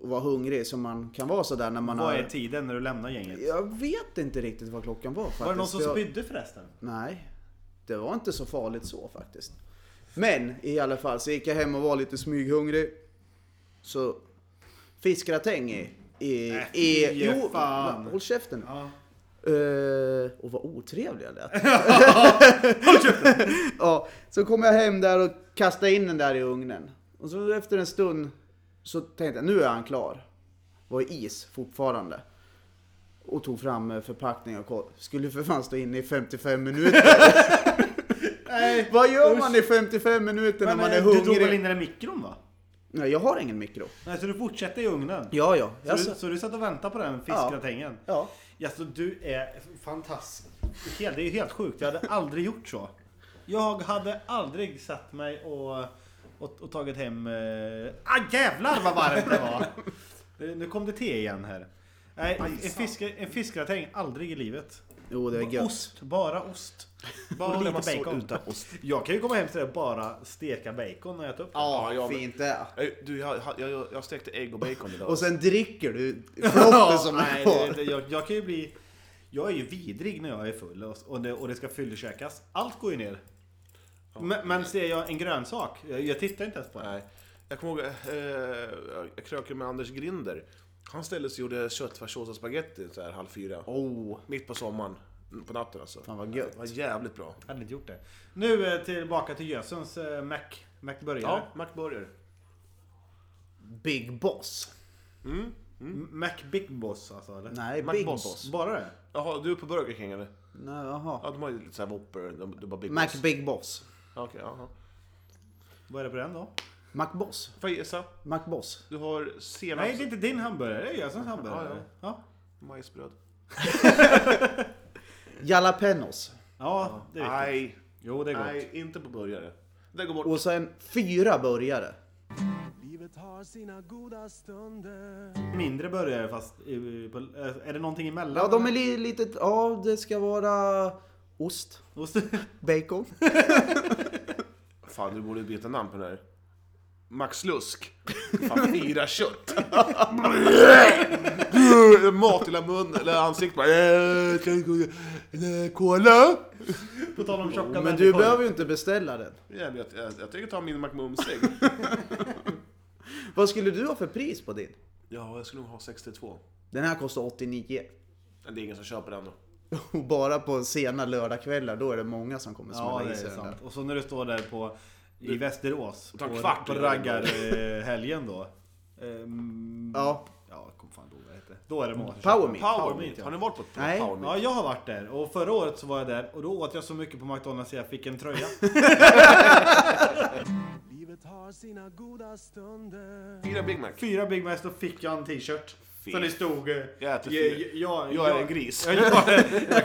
och var hungrig som man kan vara sådär när man
Vad
har...
är tiden när du lämnar gänget?
Jag vet inte riktigt vad klockan var faktiskt.
Var det någon som
Jag-
spydde förresten?
Nej, det var inte så farligt så faktiskt. Men i alla fall så gick jag hem och var lite smyghungrig. Så fiskgratäng i... i,
Äh,
i
fy fan.
va- håll käften nu.
Ja.
Eh, och vad otrevlig jag lät. ja, så kom jag hem där och kastade in den där i ugnen. Och så efter en stund så tänkte jag nu är han klar. Var i is fortfarande. Och tog fram eh, förpackningen och koll. Skulle för fan stå inne i 55 minuter.
Nej.
vad gör man i 55 minuter när
Men,
man är
eh, du tog väl
hungrig?
in den i mikron va?
Nej, jag har ingen mikro.
Nej, så du fortsätter i ugnen?
Ja, ja.
Så,
Jag
du,
sa-
så du satt och väntade på den fiskgratängen?
ja.
Jaså, du är fantastisk. Helt- Det är ju helt sjukt. Jag hade aldrig gjort så. Jag hade aldrig satt mig och, och, och tagit hem... Eh... Ah, jävlar vad varmt det var! Eh, Nu kom det te igen här. Nej, en, fisk, en fiskgratäng, aldrig i livet.
Jo, det är
Bara
gött.
ost, bara ost. Bara
Bara
och
massor
lite bacon.
utan ost.
Jag kan ju komma hem till det och bara steka bacon och äta upp det.
Ja,
ja, men-
fint det.
Äh, Du, jag, jag, jag- jag stekte ägg och bacon idag.
Och sen dricker du flotten som
nej,
du har.
det, det, jag, jag kan ju bli... Jag är ju vidrig när jag är full och, och, det, och det ska fyllekäkas. Allt går ju ner. Men, men ser jag en grönsak, jag, jag tittar inte ens på den.
Nej. Jag kommer ihåg, eh, jag krökade med Anders Grinder. Han ställde sig och gjorde köttfärssås och spagetti så här halv fyra.
Oh,
Mitt på sommaren. På natten alltså.
fan vad gött.
Det var jävligt bra.
Jag hade inte gjort det. Nu eh, tillbaka till Jösens eh, Mac, Mac-burgare.
Ja, McBurger.
Big Boss.
M- Mm. Mac Big Boss alltså, eller?
Nej,
Mac
Big
Boss.
Boss.
Bara det?
Jaha, du är på Burger King eller?
Nej, jaha.
Ja, de har ju lite såhär Whopper, de, de bara Big
Mac
Boss.
Big Boss.
Ja, Okej, jaha.
Vad är det på den då?
Mac Boss.
Får jag gissa?
Mac Boss.
Du har senaps...
alltså-
Nej, det är inte din hamburgare. Det är Jösens hamburgare.
Ja,
Ja,
Majsbröd.
Jalapenos.
ja det är viktigt.
Nej,
Jo, det är gott.
nej, inte på burgare. Det går bort.
Och sen fyra burgare.
Livet har sina goda stunder.
Mindre burgare fast... i- på- eh, Är det någonting emellan?
Ja, de är li lite... Ja, det ska vara ost.
Ost-
Bacon.
Fan, du borde byta namn på den här. Max Lusk. Fan, fyra kött. Mat i hela munnen, eller ansiktet bara... "Eh, kan jag- eh, Cola?
På tal om tjocka
Men du
människor.
behöver ju inte beställa den.
Jag, vet, jag, jag tänker ta min McMumsig.
Vad skulle du ha för pris på din?
Ja, jag skulle nog ha 62.
Den här kostar 89.
Men det är ingen som köper den då.
Och bara på sena lördagkvällar, då är det många som kommer smälla
Ja, det
i
är
sig den
sant.
där.
Och så när du står där på, i Västerås
tar en
på,
kvart
på
i
raggarhelgen då. Ehm,
Ja.
Ja, kom fan då vad heter det? Då är det mat.
Power Meat.
Power
Meat,
Meat.
ja.
Har ni varit på ett
Nej.
Power Meat?
Ja, jag har varit där och förra året så var jag där och då åt jag så mycket på McDonalds så jag fick en tröja.
Livet har sina goda stunder.
Fyra Big Mac.
Fyra Big Macs, då fick jag en t-shirt.
Fy.
Så det stod... eh,
Jag äter
"Ja,
fyra.
ja,
Jag är en gris.
Ja, Jag, jag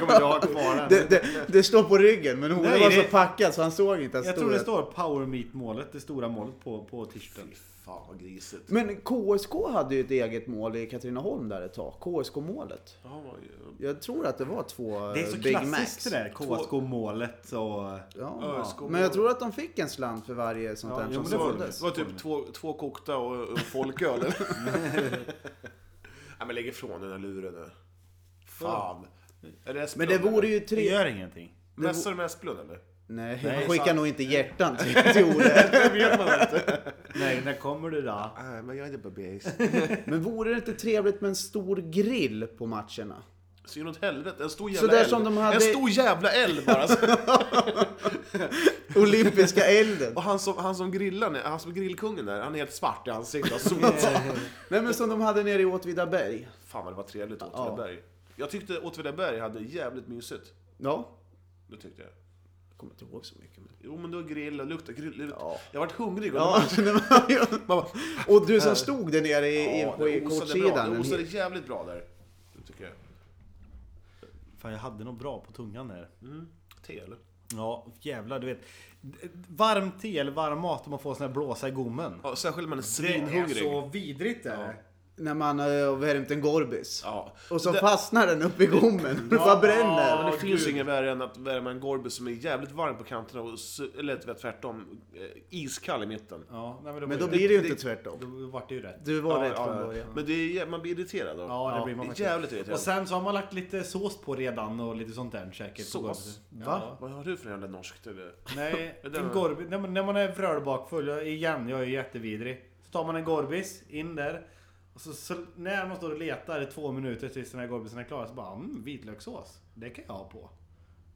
kommer inte ha kvar den.
Det, det, det står på ryggen, men Ola
Nej,
var
det-
så packad så han såg inte att
jag tror det
stod-
står Power Meat målet, det stora målet på, på t-shirten.
Fy fan vad grisigt.
Men KSK hade ju ett eget mål i Katrineholm där ett tag. KSK-målet.
Ja, vad gör-
Jag tror att det var två
Det är så
eh, Big Macs.
klassiskt det där KSK-målet och...
Ja.
ÖSK-målet.
Men jag tror att de fick en slant för varje sånt
Ja,
där
jo,
som
men det var-
såldes.
Det var typ två, två kokta och en folköl. eller? Nej men lägg ifrån den här luren nu. fan. Är det
Men det vore ju
Det
tre...
gör ingenting.
Mässor med Esplund eller?
Nej,
Nej,
man skickar
sant.
nog inte hjärtan till, till Ole.
Det vet man inte.
Nej, när kommer du då?
Nej, men jag är inte bebis.
Men vore det inte trevligt med en stor grill på matcherna?
Så inåt helvete, en stor
Så
jävla
där
eld.
som de hade-
En stor jävla eld bara. Alltså.
Olympiska elden.
Och han som, han som grillar, nu, han som är grillkungen där, han är helt svart i ansiktet och solat som
Nej men som de hade nere i Åtvidaberg.
Fan vad det var trevligt Åtvidaberg. Jag tyckte Åtvidaberg hade jävligt mysigt.
Ja.
Det tyckte jag.
Jag kommer inte ihåg så mycket. Men...
Jo men det var grill och lukta grill.
Ja.
Jag vart hungrig. Och
Ja, nej, men-
Man bara,
och du som stod där nere i,
ja,
i, på
det
i
osade bra.
kortsidan.
Det
en
osade
hel-
jävligt bra där. Det tycker jag.
Fan, jag hade något bra på tungan där.
Te eller?
Ja, jävlar du vet. Varm te eller varm mat om man får sån här blåsa i gommen.
Ja, särskilt när man är
Det är
svinhungrig.
så vidrigt det här.
När man eh, har värmt en Gorbis.
Ja.
Och så fastnar den uppe i gommen. Det bara bränner.
Men det
Åh,
finns
gud.
inget värre än att värma en Gorby som är jävligt varm på kanterna och su- eller vet, tvärtom, eh, iskall i mitten.
Ja, nej, men, det
Men
var
då blir det ju inte tvärtom.
Då vart det ju rätt.
Du var
Ja,
rätt
ja,
från
ja.
början.
Men det är, jä- man blir irriterad då.
Ja, det blir man
är
faktiskt.
jävligt irriterad.
Och sen så har man lagt lite sås på redan och lite sånt där säkert. på
Sås?
golvet.
Va?
Ja.
Vad har du för jävla norskt? eller?
Nej,
Det där
en
var-
gorbi, när, man, när man är vrölbakfull, jag- igen, jag är jättevidrig. Så tar man en gorbis, in där. Och så, så när man står och letar i två minuter tills den här gorbisen är klar så bara mm, vitlökssås. Det kan jag ha på.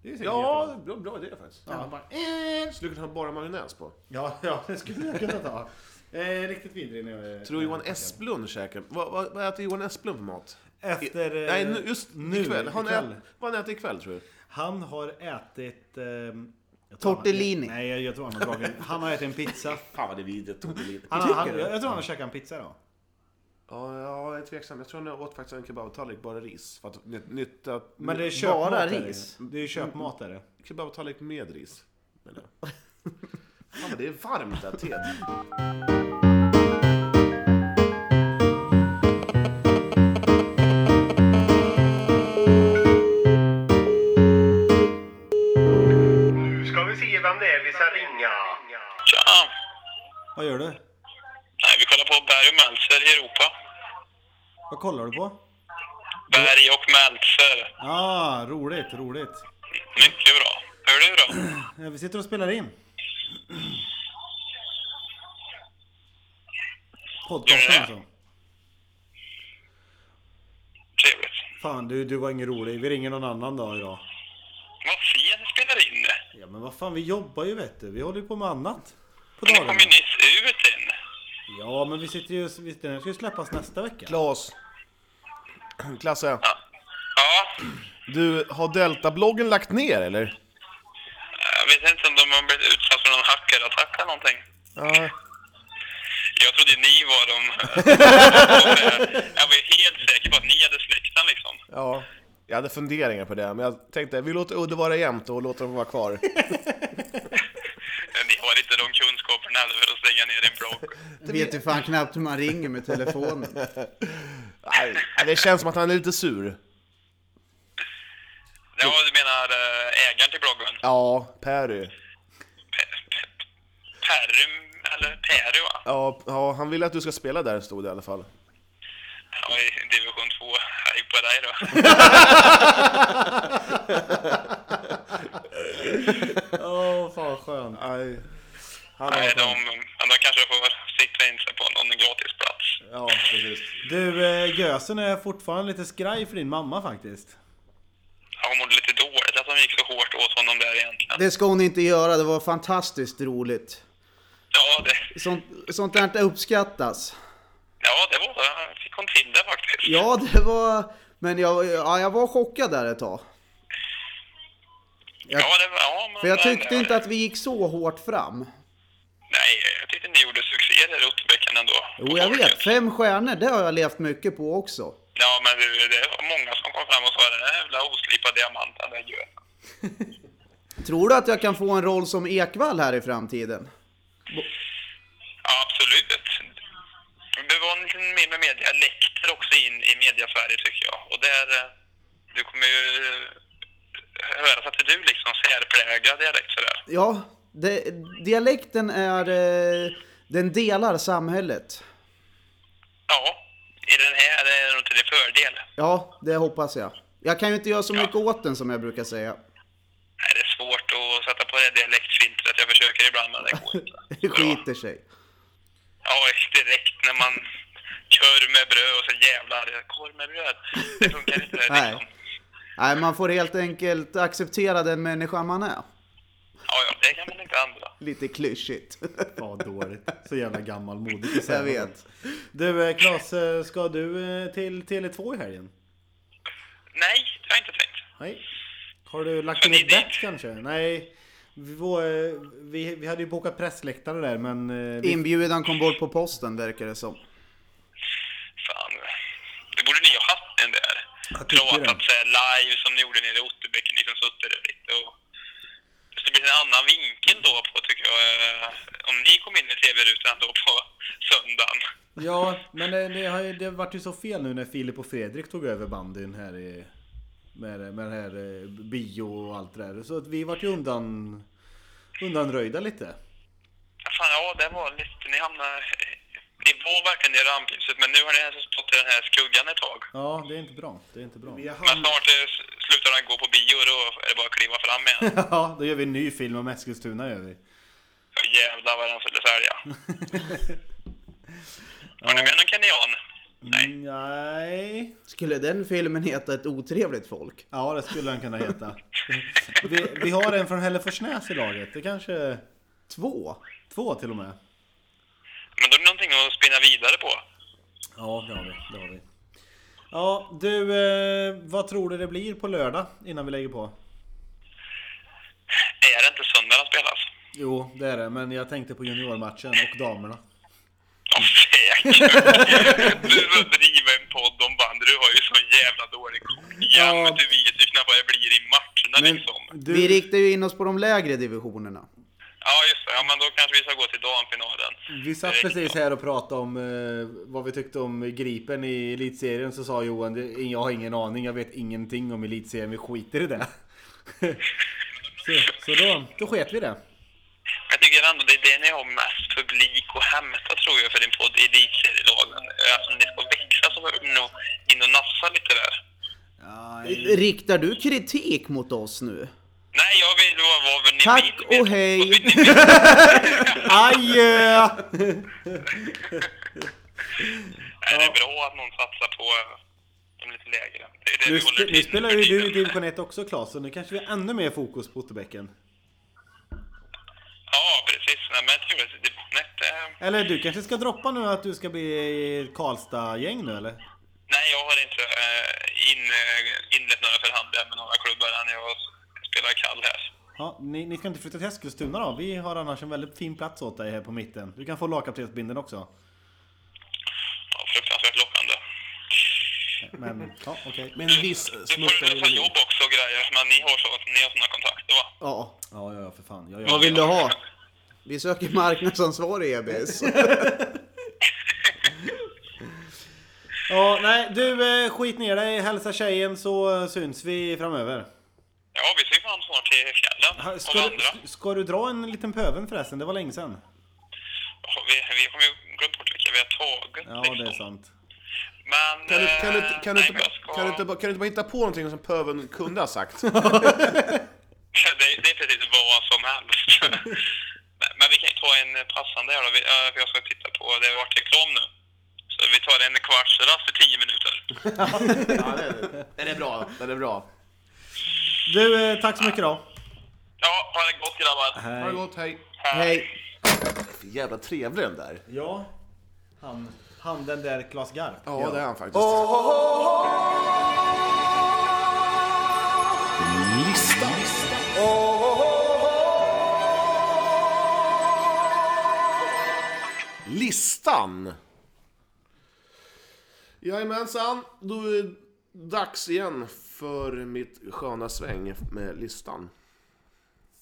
Det är säkert
Ja, det
jättebra.
är bra, bra idé faktiskt.
Ja, bara, eh.
Skulle kunna ha bara majonnäs på.
ja, ja, det skulle jag kunna ta. Eh, riktigt vidrig när jag är...
Tror du Johan Esplund käkar... Vad, vad, vad äter Johan Esplund för mat?
Efter... eh,
Nej, nu, just nu, ikväll. Han
ikväll.
Ät, vad han äter ikväll tror du?
Han har ätit... ehm, jag tror
Tortellini.
Han, nej, jag, jag tror han har dragit... Han har ätit en pizza.
Fan vad det är vidrigt. Tog det lite.
Han, han, jag, jag tror han har käkat en pizza då.
Mm. Ja, jag är tveksam. Jag tror han åt faktiskt en kebabtallrik, bara ris. För att nyt- nytta...
Men det är köpmat.
Bara
är det.
ris?
Det är köpmat är det.
Kebabtallrik med ris. menar jag. Fan vad det är varmt det här teet.
Nu ska vi se vem det är vi ska ringa.
Tja!
Vad gör du?
Nej, vi kollar på Berg och Meltzer i Europa.
Vad kollar du på?
Berg och Meltzer.
Ah, roligt, roligt.
Mycket bra. Hör du då?
Eh, Vi sitter och spelar in. Podcasten alltså.
Trevligt.
Fan, du, du var ingen rolig. Vi ringer någon annan dag idag.
Vad fel ni spelar in det.
Ja, men vad fan, vi jobbar ju vet du. Vi håller ju på med annat. På
Ni
dagarna.
kom ju nyss ut än.
Ja, men vi sitter ju... vi- Den här ska ju släppas nästa vecka.
Klas. Klasse.
Ja,
Du, har Delta-bloggen lagt ner eller?
jag vet inte om de har blivit utsatta för någon hackerattack eller någonting.
Ja.
Jag trodde ni var de... jag var ju helt säker på att ni hade släkten liksom.
Ja. Jag hade funderingar på det, men jag tänkte vi låter Udde vara jämt och låter dem vara kvar.
Ni har inte de kunskaperna heller för att stänga ner en blogg.
Vet ju fan knappt hur man ringer med telefonen.
Nej, det känns som att han är lite sur.
Ja, du menar eh, ägaren till bloggen?
Ja, Perry.
Pe- pe- Perrum, eller Peru va?
Ja, ja, han ville att du ska spela där, stod det i alla fall.
Ja, i division 2. Hej på dig då.
Åh, fan skönt.
Nej. Han
Nej, de, de kanske får sikta in sig på någon gratisplats.
Ja, precis.
Du, eh, Gösen är fortfarande lite skraj för din mamma faktiskt.
Ja, Hon mådde lite dåligt att de gick så hårt åt honom där egentligen.
Det ska hon inte göra, det var fantastiskt roligt.
Ja, det,
Sånt, sånt där inte uppskattas.
ja, det var fick hon till det faktiskt.
Ja, det var... Men jag, ja, jag var chockad där ett tag.
ja, det, var- ja men...
För jag
nej,
tyckte
det-
inte att vi gick så hårt fram.
Nej, jag tyckte ni gjorde succé där i Otterbäcken ändå.
Jo, jag vet. Fem stjärnor, det har jag levt mycket på också.
Ja, men det, det var många som kom fram och sa den där jävla oslipade diamanten, den gör.
Tror du att jag kan få en roll som Ekvall här i framtiden?
Ja, absolut. Det var en liten mer med media läckter också in i mediasverige tycker jag. Och där, eh, du kommer ju eh, höras att du liksom särpräglad dialekt sådär.
Ja, det, dialekten är... eh, Den delar samhället.
Ja, i den här är det nog till din fördel.
Ja, det hoppas jag. Jag kan ju inte göra så mycket åt den som jag brukar säga.
Nej, det är svårt att sätta på det dialektfiltret. Jag försöker ibland, men det går inte.
Det skiter sig.
Ja, direkt när man kör med bröd och så jävlar, korv med bröd. Det funkar inte.
Nej.
Liksom.
Nej, man får helt enkelt acceptera den människa man är.
Ja, ja, det kan man inte ändra.
Lite klyschigt.
Fan dåligt. Så jävla gammalmodigt att säga
Jag vet.
Du eh, Claes, eh, ska du eh, till Tele2 i helgen?
Nej, det har jag inte tänkt.
Nej. Har du lagt in ett bett kanske? Nej. Vi, var, eh, vi, vi hade ju bokat pressläktare där men... eh, Vi,
Inbjudan kom bort på posten verkar det som.
Fan. Det borde ni ha haft den där.
Jag tycker
Pratat
det.
så här live som ni gjorde nere i Otterbäck. Ni som suttit där lite och... Så det blir en annan vinkel då på tycker jag. eh, Om ni kom in i TV-rutan då på söndagen.
ja, men det, det, har ju, det vart ju så fel nu när Filip och Fredrik tog över bandyn här i... Med, med det här eh, bio och allt det där. Så att vi vart ju undan... Undanröjda lite.
Ja, Fan, ja, det var lite... Ni hamnade... Ni var verkligen i rampljuset, men nu har ni alltså stått i den här skuggan ett tag.
Ja, det är inte bra. Det är inte bra.
Men snart eh, s- slutar den gå på bio, då är det bara att kliva fram igen.
Ja, då gör vi en ny film om Eskilstuna gör vi.
Ja, Jävlar vad den skulle sälja. Var ni med någon kenyan? Nej.
Nej.
Skulle den filmen heta Ett otrevligt folk?
Ja, det skulle han kunna heta. Vi, vi har en från Hälleforsnäs i laget. Det kanske... Två? Två till och med.
Men då är det någonting att spinna vidare på.
Ja, det har vi. Det har vi. Ja, du, eh, vad tror du det blir på lördag innan vi lägger på?
Är det inte söndag den spelas?
Jo, det är det, men jag tänkte på juniormatchen och damerna.
Åh
Mm.
fäk! Du som driver en podd om bandy, du har ju så jävla dålig koll. Ja, men du vet ju knappt vad det blir i matcherna liksom.
Vi
Du,
riktar ju in oss på de lägre divisionerna.
Ja, just det. Ja, men då kanske vi ska gå till damfinalen.
Mm.
vi satt precis här och pratade om eh, vad vi tyckte om Gripen i Elitserien, så sa Johan, "Det- jag har ingen aning, jag vet ingenting om Elitserien, vi skiter i det. så så då, då sket vi det.
Jag tycker ändå det är det ni har mest publik att hämta tror jag för din podd Elitserielagen. Alltså ni ska växa så behöver ni nog in och nafsa lite där.
Riktar du kritik mot oss nu?
Nej, jag vill vara vad ni
Tack
vill.
och hej.
Vad vill ni?
Adjö!
Nej, det är bra att någon satsar på de lite lägre. Det är det
Nu,
vi håller
sp-
till
nu
med
spelar
för
ju du i
tiden.
division 1 också Claes, så nu kanske vi har ännu mer fokus på Otterbäcken.
Ja, precis. Nej, men trevligt. Det- eh, nej, det-
Eller du kanske ska droppa nu att du ska bli Karlstad-gäng nu eller?
Nej, jag har inte eh, in, eh, inlett några förhandlingar med några klubbar än jag spelar kall här.
Ja, ni, ni ska inte flytta till Eskilstuna då? Vi har annars en väldigt fin plats åt dig här på mitten. Du kan få lagkaptensbindeln också.
Ja, fruktansvärt lockande.
Men, ja okej.
Med en viss eh,
Du får
smuttare
lösa
ironi.
jobb också och grejer, men ni har, så, ni har såna kontakter va?
Ja.
Ja, ja, ja, för fan. Ja,
Vad
ja.
vill du ha? Vi söker marknadsansvarig i E EBS.
ja, nej du, eh, skit ner dig. Hälsa tjejen så eh, syns vi framöver.
Ja, vi ser fan snart till fjällen.
Ha,
och
Ska du,
andra.
ska du dra en liten pöven förresten? Det var länge sedan.
Vi, vi kommer ju glömt bort vilka vi har tagit.
Ja,
liksom.
det är sant.
Men...
Kan du, kan, du,
eh,
kan, du
nej,
inte,
men
bara-
jag ska-
kan, du inte, bara- kan du inte bara hitta på någonting som pöven kunde ha sagt?
Det, det är precis vad som helst. Men- Men vi kan ju ta en passande här då. Vi, eh, för jag ska titta på, det har varit reklam nu. Så vi tar en kvartsrast i tio minuter.
ja, det, den är bra. Den är bra.
Du, eh, tack så mycket då.
Ja, ha det gott grabbar.
Ha det gott, hej.
Hej.
För jävla trevlig den där.
Ja, han, han den där Klas Garp.
Ja, det är han faktiskt. Listan! Jajamensan, då är det dags igen för mitt sköna sväng med listan.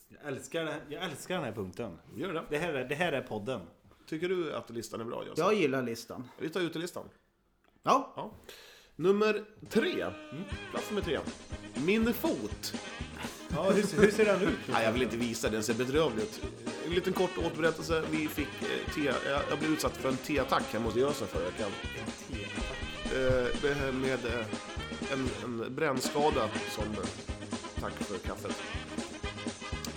Jag älskar, det här- jag älskar den här punkten.
Gör det.
Det här, är- det här är podden.
Tycker du att listan är bra, Josef?
Jag gillar listan.
Vi tar utelistan.
Ja.
Ja. Nummer tre. Plats nummer tre. Min fot.
Ja, hur, hur ser den ut?
Nej, jag vill inte visa den, ser bedrövlig ut. En liten kort återberättelse. Vi fick eh, te, jag, jag blev utsatt för en T-attack hemma hos Jösen förra veckan. Eh, det här med eh, en, en brännskada som eh, tack för kaffet.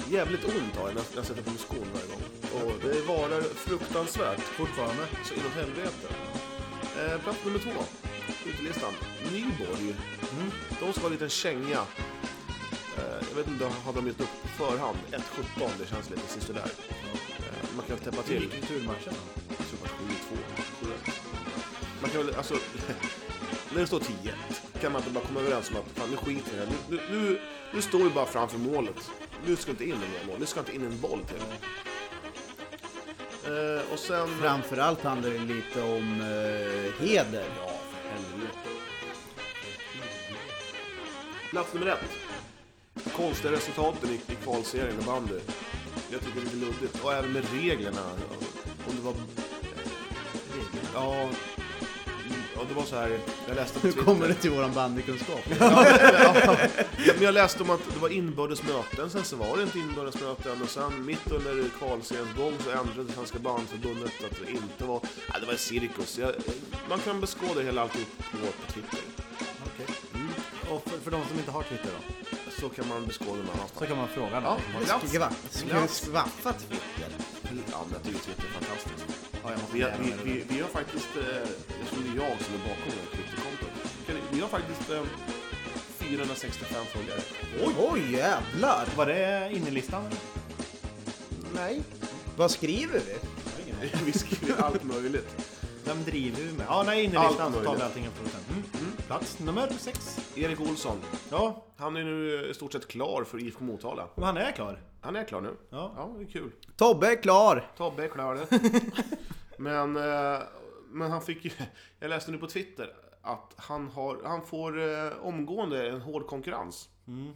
Jävligt ont har jag när jag sätter på mig skon varje gång. Och det varar fruktansvärt. Fortfarande. Så inåt helvete. Eh, plats nummer två. Utelistan. Nyborg. De ska ha en liten känga. Eh, jag vet inte, hade de gjort upp på förhand? 1-17, det känns lite sisådär. Eh, man kan väl täppa
Hur
till.
gick returmatchen då?
Jag tror att det är två. tror jag. Man kan väl, alltså, när det står 10 kan man inte bara komma överens om att fan, nu skiter vi i det här. Nu, nu, nu, nu står vi bara framför målet. Nu ska inte in en mer mål. Nu ska inte in en boll till. Eh, och sen...
Framförallt handlar det lite om eh, heder.
Plats nummer ett. Konstiga resultaten i, i kvalserien i bandy. Jag tycker det är lite luddigt. Och även med reglerna. Om det var... Ja... Ja, det var så här. Jag läste på
Nu
Twitter.
kommer det till våran bandykunskap.
Ja, men jag läste om att det var inbördes möten, sen så var det inte inbördes möten och sen mitt under kvalseriens gång så ändrade Svenska Bandförbundet att det inte var... Ja, det var en cirkus. Jag, man kan beskåda hela alltihop på, på Twitter.
Okej. Och för, för de som inte har Twitter då?
Så kan man beskåda någon annanstans.
Så kan man fråga någon.
Ja, glatt.
Skvatt. Skvaffa Twitter.
Ja, men jag tycker Twitter är fantastiskt.
Ja, jag måste
Vi,
lära mig
vi,
det.
vi, vi har faktiskt, eh, eftersom det är jag som är bakom det här Twitterkontot, kan vi- vi har faktiskt eh, 465 följare.
Oj! Oj jävlar!
Var det innelistan?
Nej. Vad skriver vi?
Vi skriver allt möjligt.
Vem driver vi med? Ja, nej, innelistan
Allt
så tar vi
möjligt.
allting från sen. Mm. Plats nummer sex.
Erik Olsson,
Ja,
han är nu eh, i stort sett klar för IFK Motala.
men han är klar.
Han är klar nu.
Ja.
ja det är kul.
Tobbe är klar!
Tobbe är klar det. men, eh, men han fick ju... Jag läste nu på Twitter att han, har, han får eh, omgående en hård konkurrens.
Mm.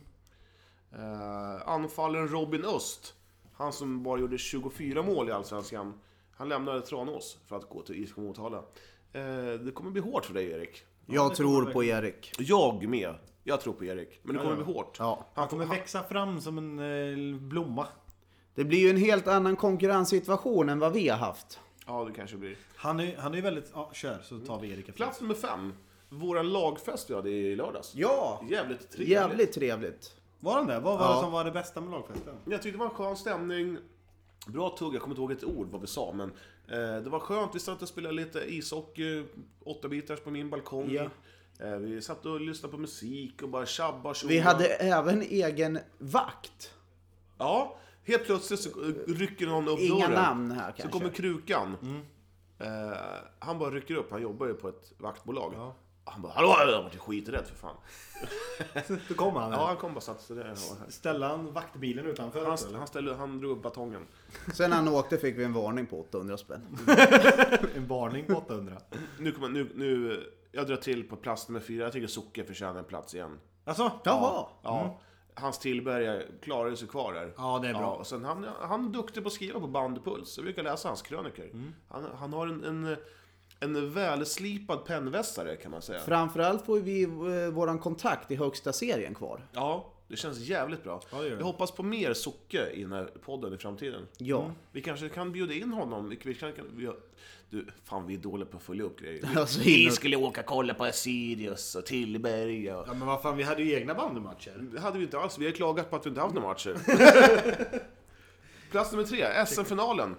Eh, Anfallen Robin Öst, han som bara gjorde 24 mål i Allsvenskan, han lämnade Tranås för att gå till IFK Motala. Eh, det kommer bli hårt för dig Erik.
Jag tror på Erik.
Jag med. Jag tror på Erik. Men det kommer bli hårt.
Ja.
Han kommer växa fram som en eh, blomma.
Det blir ju en helt annan konkurrenssituation än vad vi har haft.
Ja, det kanske blir.
Han är, han är väldigt... Ja, kör så tar vi Erik efter.
Plats nummer fem. Våra lagfest vi hade i lördags.
Ja!
Jävligt trevligt.
Jävligt trevligt.
Var han det? Vad var det
Ja.
som var det bästa med lagfesten?
Jag tyckte det var en skön stämning. Bra tugg, jag kommer inte ihåg ett ord vad vi sa, men eh, det var skönt. Vi satt och spelade lite ishockey, åtta bitars på min balkong.
Ja.
Eh, vi satt och lyssnade på musik och bara tjabba tjoa.
Vi hade även egen vakt.
Ja, helt plötsligt så eh, rycker någon upp
Inga
dörren.
namn här kanske.
Så kommer Krukan. Eh, han bara rycker upp, han jobbar ju på ett vaktbolag. Han bara ”Hallå!” Jag vart ju skiträdd för fan.
Då kommer han.
Ja,
Ja.
han kom bara och satte sig där. och-
Ställde han vaktbilen utanför?
Han,
också, eller?
han, ställde, han drog upp batongen.
Sen när han åkte fick vi en varning på 800 spänn.
En varning på 800.
Nu kommer nu, nu, jag drar till på plats nummer fyra. Jag tycker Socke förtjänar en plats igen.
Alltså?
Jaha!
Ja. Hans Tillberga klarade sig kvar där.
Ja, det är bra.
och sen han, han är duktig på att skriva på bandpuls. Jag brukar läsa hans kröniker.
Mm.
Han, han har en, en, en välslipad pennvässare kan man säga.
Framförallt får vi eh, våran kontakt i högsta serien kvar.
Ja, det känns jävligt bra.
Ja, det gör det.
jag hoppas på mer Socke i den här podden i framtiden.
Ja.
Vi kanske kan bjuda in honom. Vi kan, kan, vi, du, fan vi är dåliga på att följa upp grejer.
Alltså,
Vi
innan-
skulle åka och kolla på Sirius och Tillberga.
Ja men vad fan, vi hade ju egna bandymatcher.
Det hade vi inte alls. Vi har klagat på att vi inte haft några matcher. Plats nummer tre, SM-finalen.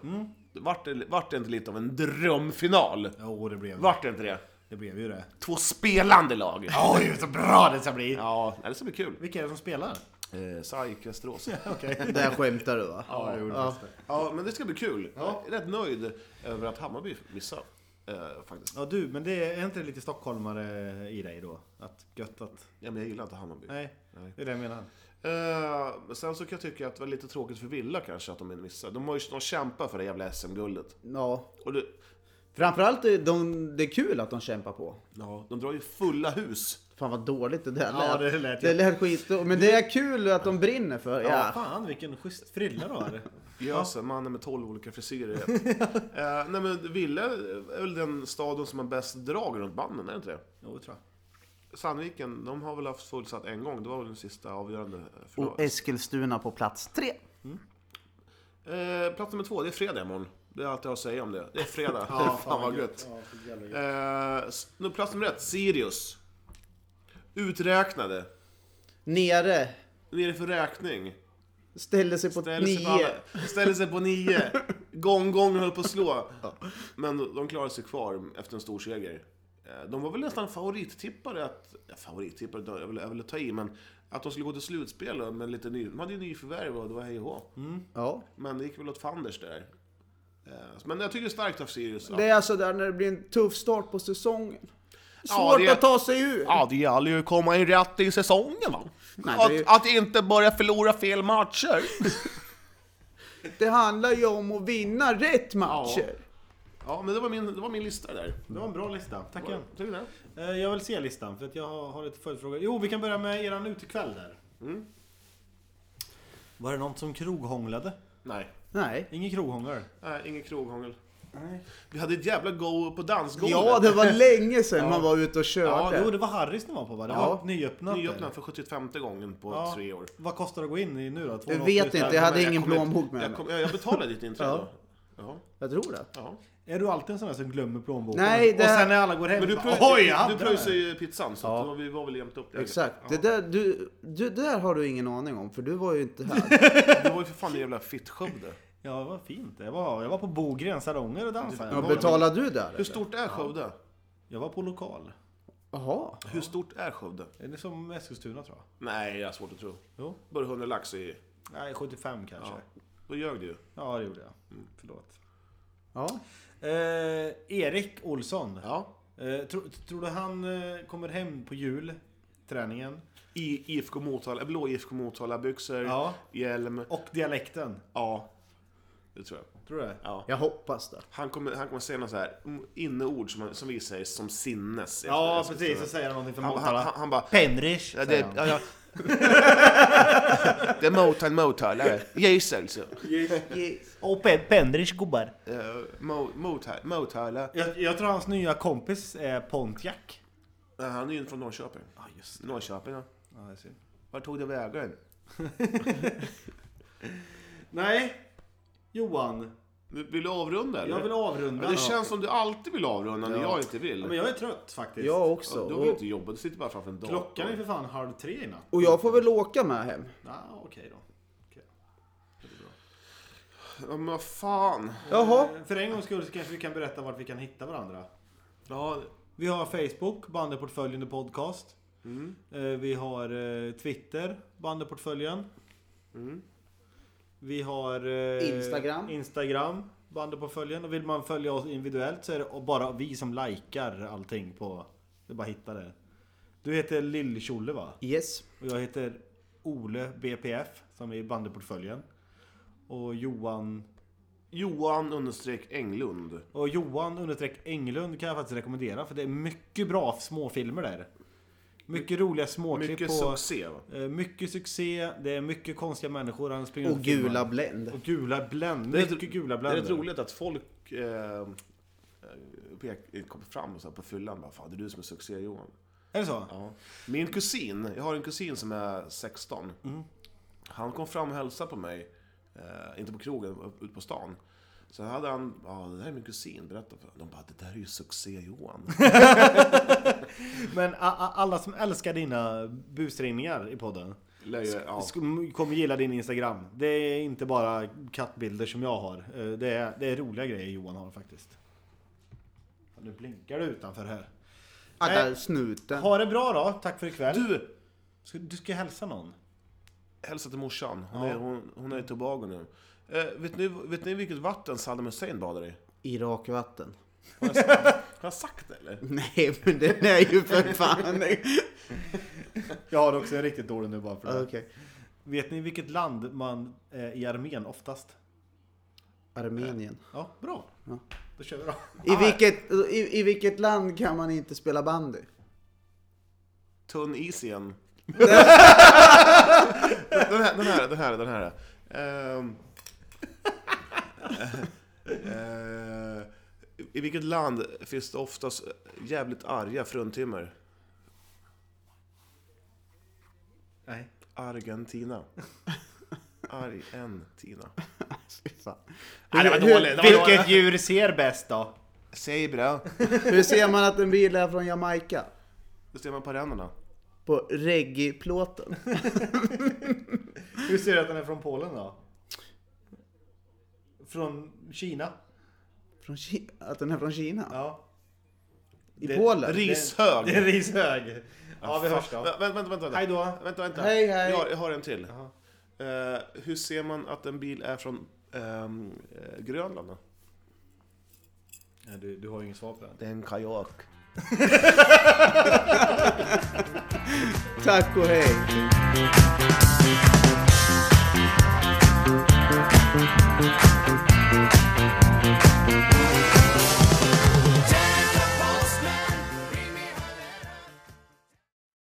Vart, det, vart det inte lite av en drömfinal?
Jo, det blev
Vart det inte det?
Det blev ju det.
Två spelande lag.
Oj, så bra det ska bli!
Ja, det ska bli kul.
Vilka är det som spelar?
Eh, SAIK Västerås.
Okej.
Där skämtar du va?
Ja, jag gjorde faktiskt det.
Ja, men det ska bli kul. Jag är rätt nöjd över att Hammarby missade. Eh, faktiskt.
Ja du, men det är inte det lite stockholmare i dig då? Att gött att...
Ja, men jag gillar inte Hammarby.
Nej,
Nej.
det är det jag menar.
Eh, sen så kan jag tycka att det var lite tråkigt för Villa kanske att de inte missade. De har ju de kämpar för det jävla SM-guldet.
Ja.
Och det,
Framförallt är de, det är kul att de kämpar på.
ja, de drar ju fulla hus.
Fan vad dåligt det där
Ja, det lät ju-
det lät skit. Men det är kul att de brinner för
Ja,
ja.
fan vilken schysst frilla du har.
Jösen, mannen med 12 olika frisyrer. uh, nej men Ville är väl den staden som har bäst drag runt banden, är det inte det?
Jo, tror jag.
Sandviken, de har väl haft fullsatt en gång, det var väl den sista avgörande för
Och Eskilstuna på plats tre.
Eh, Plats nummer två, det är fredag imorgon. Det är allt jag har att säga om det. Det är fredag. fan vad gött.
Ja, för jävla gött.
Eh, s- nu, plats nummer ett, Sirius. Uträknade.
Nere.
Nere för räkning.
Ställde sig på
Ställer sig,
nio.
på alla, ställer sig på nio. Gång, gång höll på att slå. Men de klarade sig kvar efter en stor seger. Eh, De var väl nästan favorittippare att... Ja, favorittippare, då- jag ville, jag ville ta i, men... Att de skulle gå till slutspel med lite ny... De hade ju nyförvärv och det var hej och hå.
Ja.
Men det gick väl åt fanders där. Eh, Men jag tycker det är starkt av Sirius.
Det är alltså där när det blir en tuff start på säsongen.
Ja,
Svårt
det är-
att ta sig ur.
Ja, det gäller ju att komma in rätt i säsongen va?
det är ju-
att, att inte börja förlora fel matcher.
Det handlar ju om att vinna rätt matcher.
Ja, men det var min, det var min lista där.
Det var en bra lista, tackar.
Tycker du det?
Eh, Jag vill se listan för att jag har har lite följdfrågor. Jo, vi kan börja med eran utekväll där. Var det någon som kroghånglade?
Nej.
Nej.
Ingen kroghångel?
Nej, ingen kroghångel. Vi hade ett jävla go på dansgolvet.
Ja, det var länge sedan man var ute och
Ja,
körde.
jo, det var Harrys ni var på va? Det
Ja.
var nyöppnat. där.
Nyöppnat för 75 gången på
Ja.
tre år.
Vad kostar det att gå in i nu då? 280?
Jag vet inte, jag hade ingen
kommer-
plånbok med
jag,
mig.
kom, jag, jag betalade ditt inträde.
Ja.
ja.
Jag tror det.
ja.
Är du alltid en sån där som glömmer plånboken?
Nej, det
Och
här-
sen när alla går hem
Men du,
bara,
pröj,
Oj, jag
du,
hade
du
den."
pröjsade ju pizzan så
Ja.
att det var, vi var väl jämnt upp där.
Exakt.
Ja.
Det, där, du, du, det där har du ingen aning om, för du var ju inte här.
Det var ju för fan det jävla Fittskövde.
Ja, vad fint. Jag var, jag var på Bogrens salonger och dansade. Jag
Men
var,
betalade du där
Hur
eller?
stort är Skövde?
jag var på lokal.
Jaha.
Hur stort är Skövde?
Är det som Eskilstuna tror jag?
Nej, jag har svårt att tro.
Jo.
Bara 100 lax i...
Nej, 75 kanske.
Ja.
Ja, Mm.
Då ljög du ju.
det gjorde jag. Förlåt.
Ja.
Eh, Erik Olsson.
Ja.
Eh, tro, tror du han eh, kommer hem på jul? Träningen?
I IFK Motala, blå IFK Motala-byxor,
Ja.
hjälm.
Och dialekten?
Ja. Det tror jag.
Tror du det?
Ja.
Jag hoppas det.
Han kommer, han kommer säga något så här mm, inneord som, som vi säger som sinnes.
Ja,
Efter-
precis. Så
efter-
säger han någonting från
Han, han,
Motala.
han, han bara...
Penrish, säger
Ja, det,
han.
ja, ja. det är Motown, Motown. Jesus.
Och pe Pendrish gubbar.
eh, Motala.
Jag, jag tror hans nya kompis är Pontiac.
Han är ju från Norrköping.
Ja, just
Norrköping, ja.
ja, det. är synd.
Vart tog det vägen?
Nej, Johan.
Vill vill du avrunda eller?
Jag vill avrunda.
Ja, det känns som du alltid vill avrunda när jag inte vill.
Ja, men jag är trött faktiskt.
Jag
Ja,
också.
Du vill
Och,
inte jobba, du sitter bara framför en dator.
Klockan är för fan halv tre i natt.
och jag får väl åka med hem.
Ah, okej då. Okej.
Ja, men vad fan.
Jaha.
Eh, För en gångs skull så kanske vi kan berätta vart vi kan hitta varandra.
Ja,
Vi har Facebook, Bandeportföljen och podcast. Eh, Vi har eh, Twitter, Bandeportföljen. Vi har eh,
Instagram.
Mm. Instagram, Bandeportföljen. Och vill man följa oss individuellt så är det bara vi som likar allting på... Det är bara att hitta det. Du heter Lill-Tjolle va?
Yes.
Och jag heter Ole BPF som är Bandeportföljen. Och Johan...
Johan understreck Englund.
Och Johan understreck Englund kan jag faktiskt rekommendera för det är mycket bra småfilmer där. Mycket roliga småklipp
Mycket
på...
succé. va?
eh, mycket succé, det är mycket konstiga människor han springer
Och
runt filmar.
gula Blend.
Och gula Blend.
Det är
Mycket
rätt-
gula
Det
Blend.
är rätt roligt att folk eh, eh, pek- kommer fram och så här på fyllan bara Fan, det är du som är succé Johan.
Är det så?
Ja. Min kusin, jag har en kusin som är 16. Han kom fram och hälsade på mig, eh, inte på krogen, ute på stan. Sen hade han, ja det här är min kusin, berätta för honom. De bara, det där är ju succé Johan.
Men a- a- alla som älskar dina busringningar i podden
Lär ju- ja.
sk- kommer gilla din Instagram. Det är inte bara kattbilder som jag har. Eh, Det är, det är roliga grejer Johan har faktiskt. Ja, Nu blinkar det utanför här.
Ah,
Nej.
där snuten.
Äh, Ha det bra då, tack för ikväll.
Du!
Ska, du ska hälsa någon.
Hälsa till morsan, hon, är, hon, hon är i Tobago nu. Eh, vet, ni, vet ni vilket vatten Saddam Hussein badar i?
Irakvatten.
Har jag sagt det eller?
Nej, men den är ju för fan...
Jag har också en riktigt dålig nu bara för
Okej.
Ah, Vet ni vilket land man är i armén oftast?
Armenien.
Ja, bra.
Ja.
Då kör vi då.
I vilket, i, I vilket land kan man inte spela bandy?
Tunn is igen. den här, den här, den här. Den här. Ehm. Eh, I vilket land finns det oftast jävligt arga fruntimmer?
Nej.
Argentina. Argentina.
Fy fan.
Vilket djur ser bäst då?
Säg bra.
Hur ser man att en bil är från Jamaica?
Då ser man på ränderna.
på reggae-plåten.
Hur ser du att den är från Polen då? Från Kina?
Från Ki- att den är från Kina?
Ja.
I
Det-
Polen?
Rishög.
Det är rishög. Ja, vi
Fan.
hörs då.
Vä- Vänta, vänta, vänta.
Hej då.
Vänta, vänta.
Hej, hej.
Jag har, jag har en till. Eh, hur ser man att en bil är från ehm, eh, Grönland då?
Nej, Du, du har ju inget svar på den.
Det är en kajak.
Tack och hej!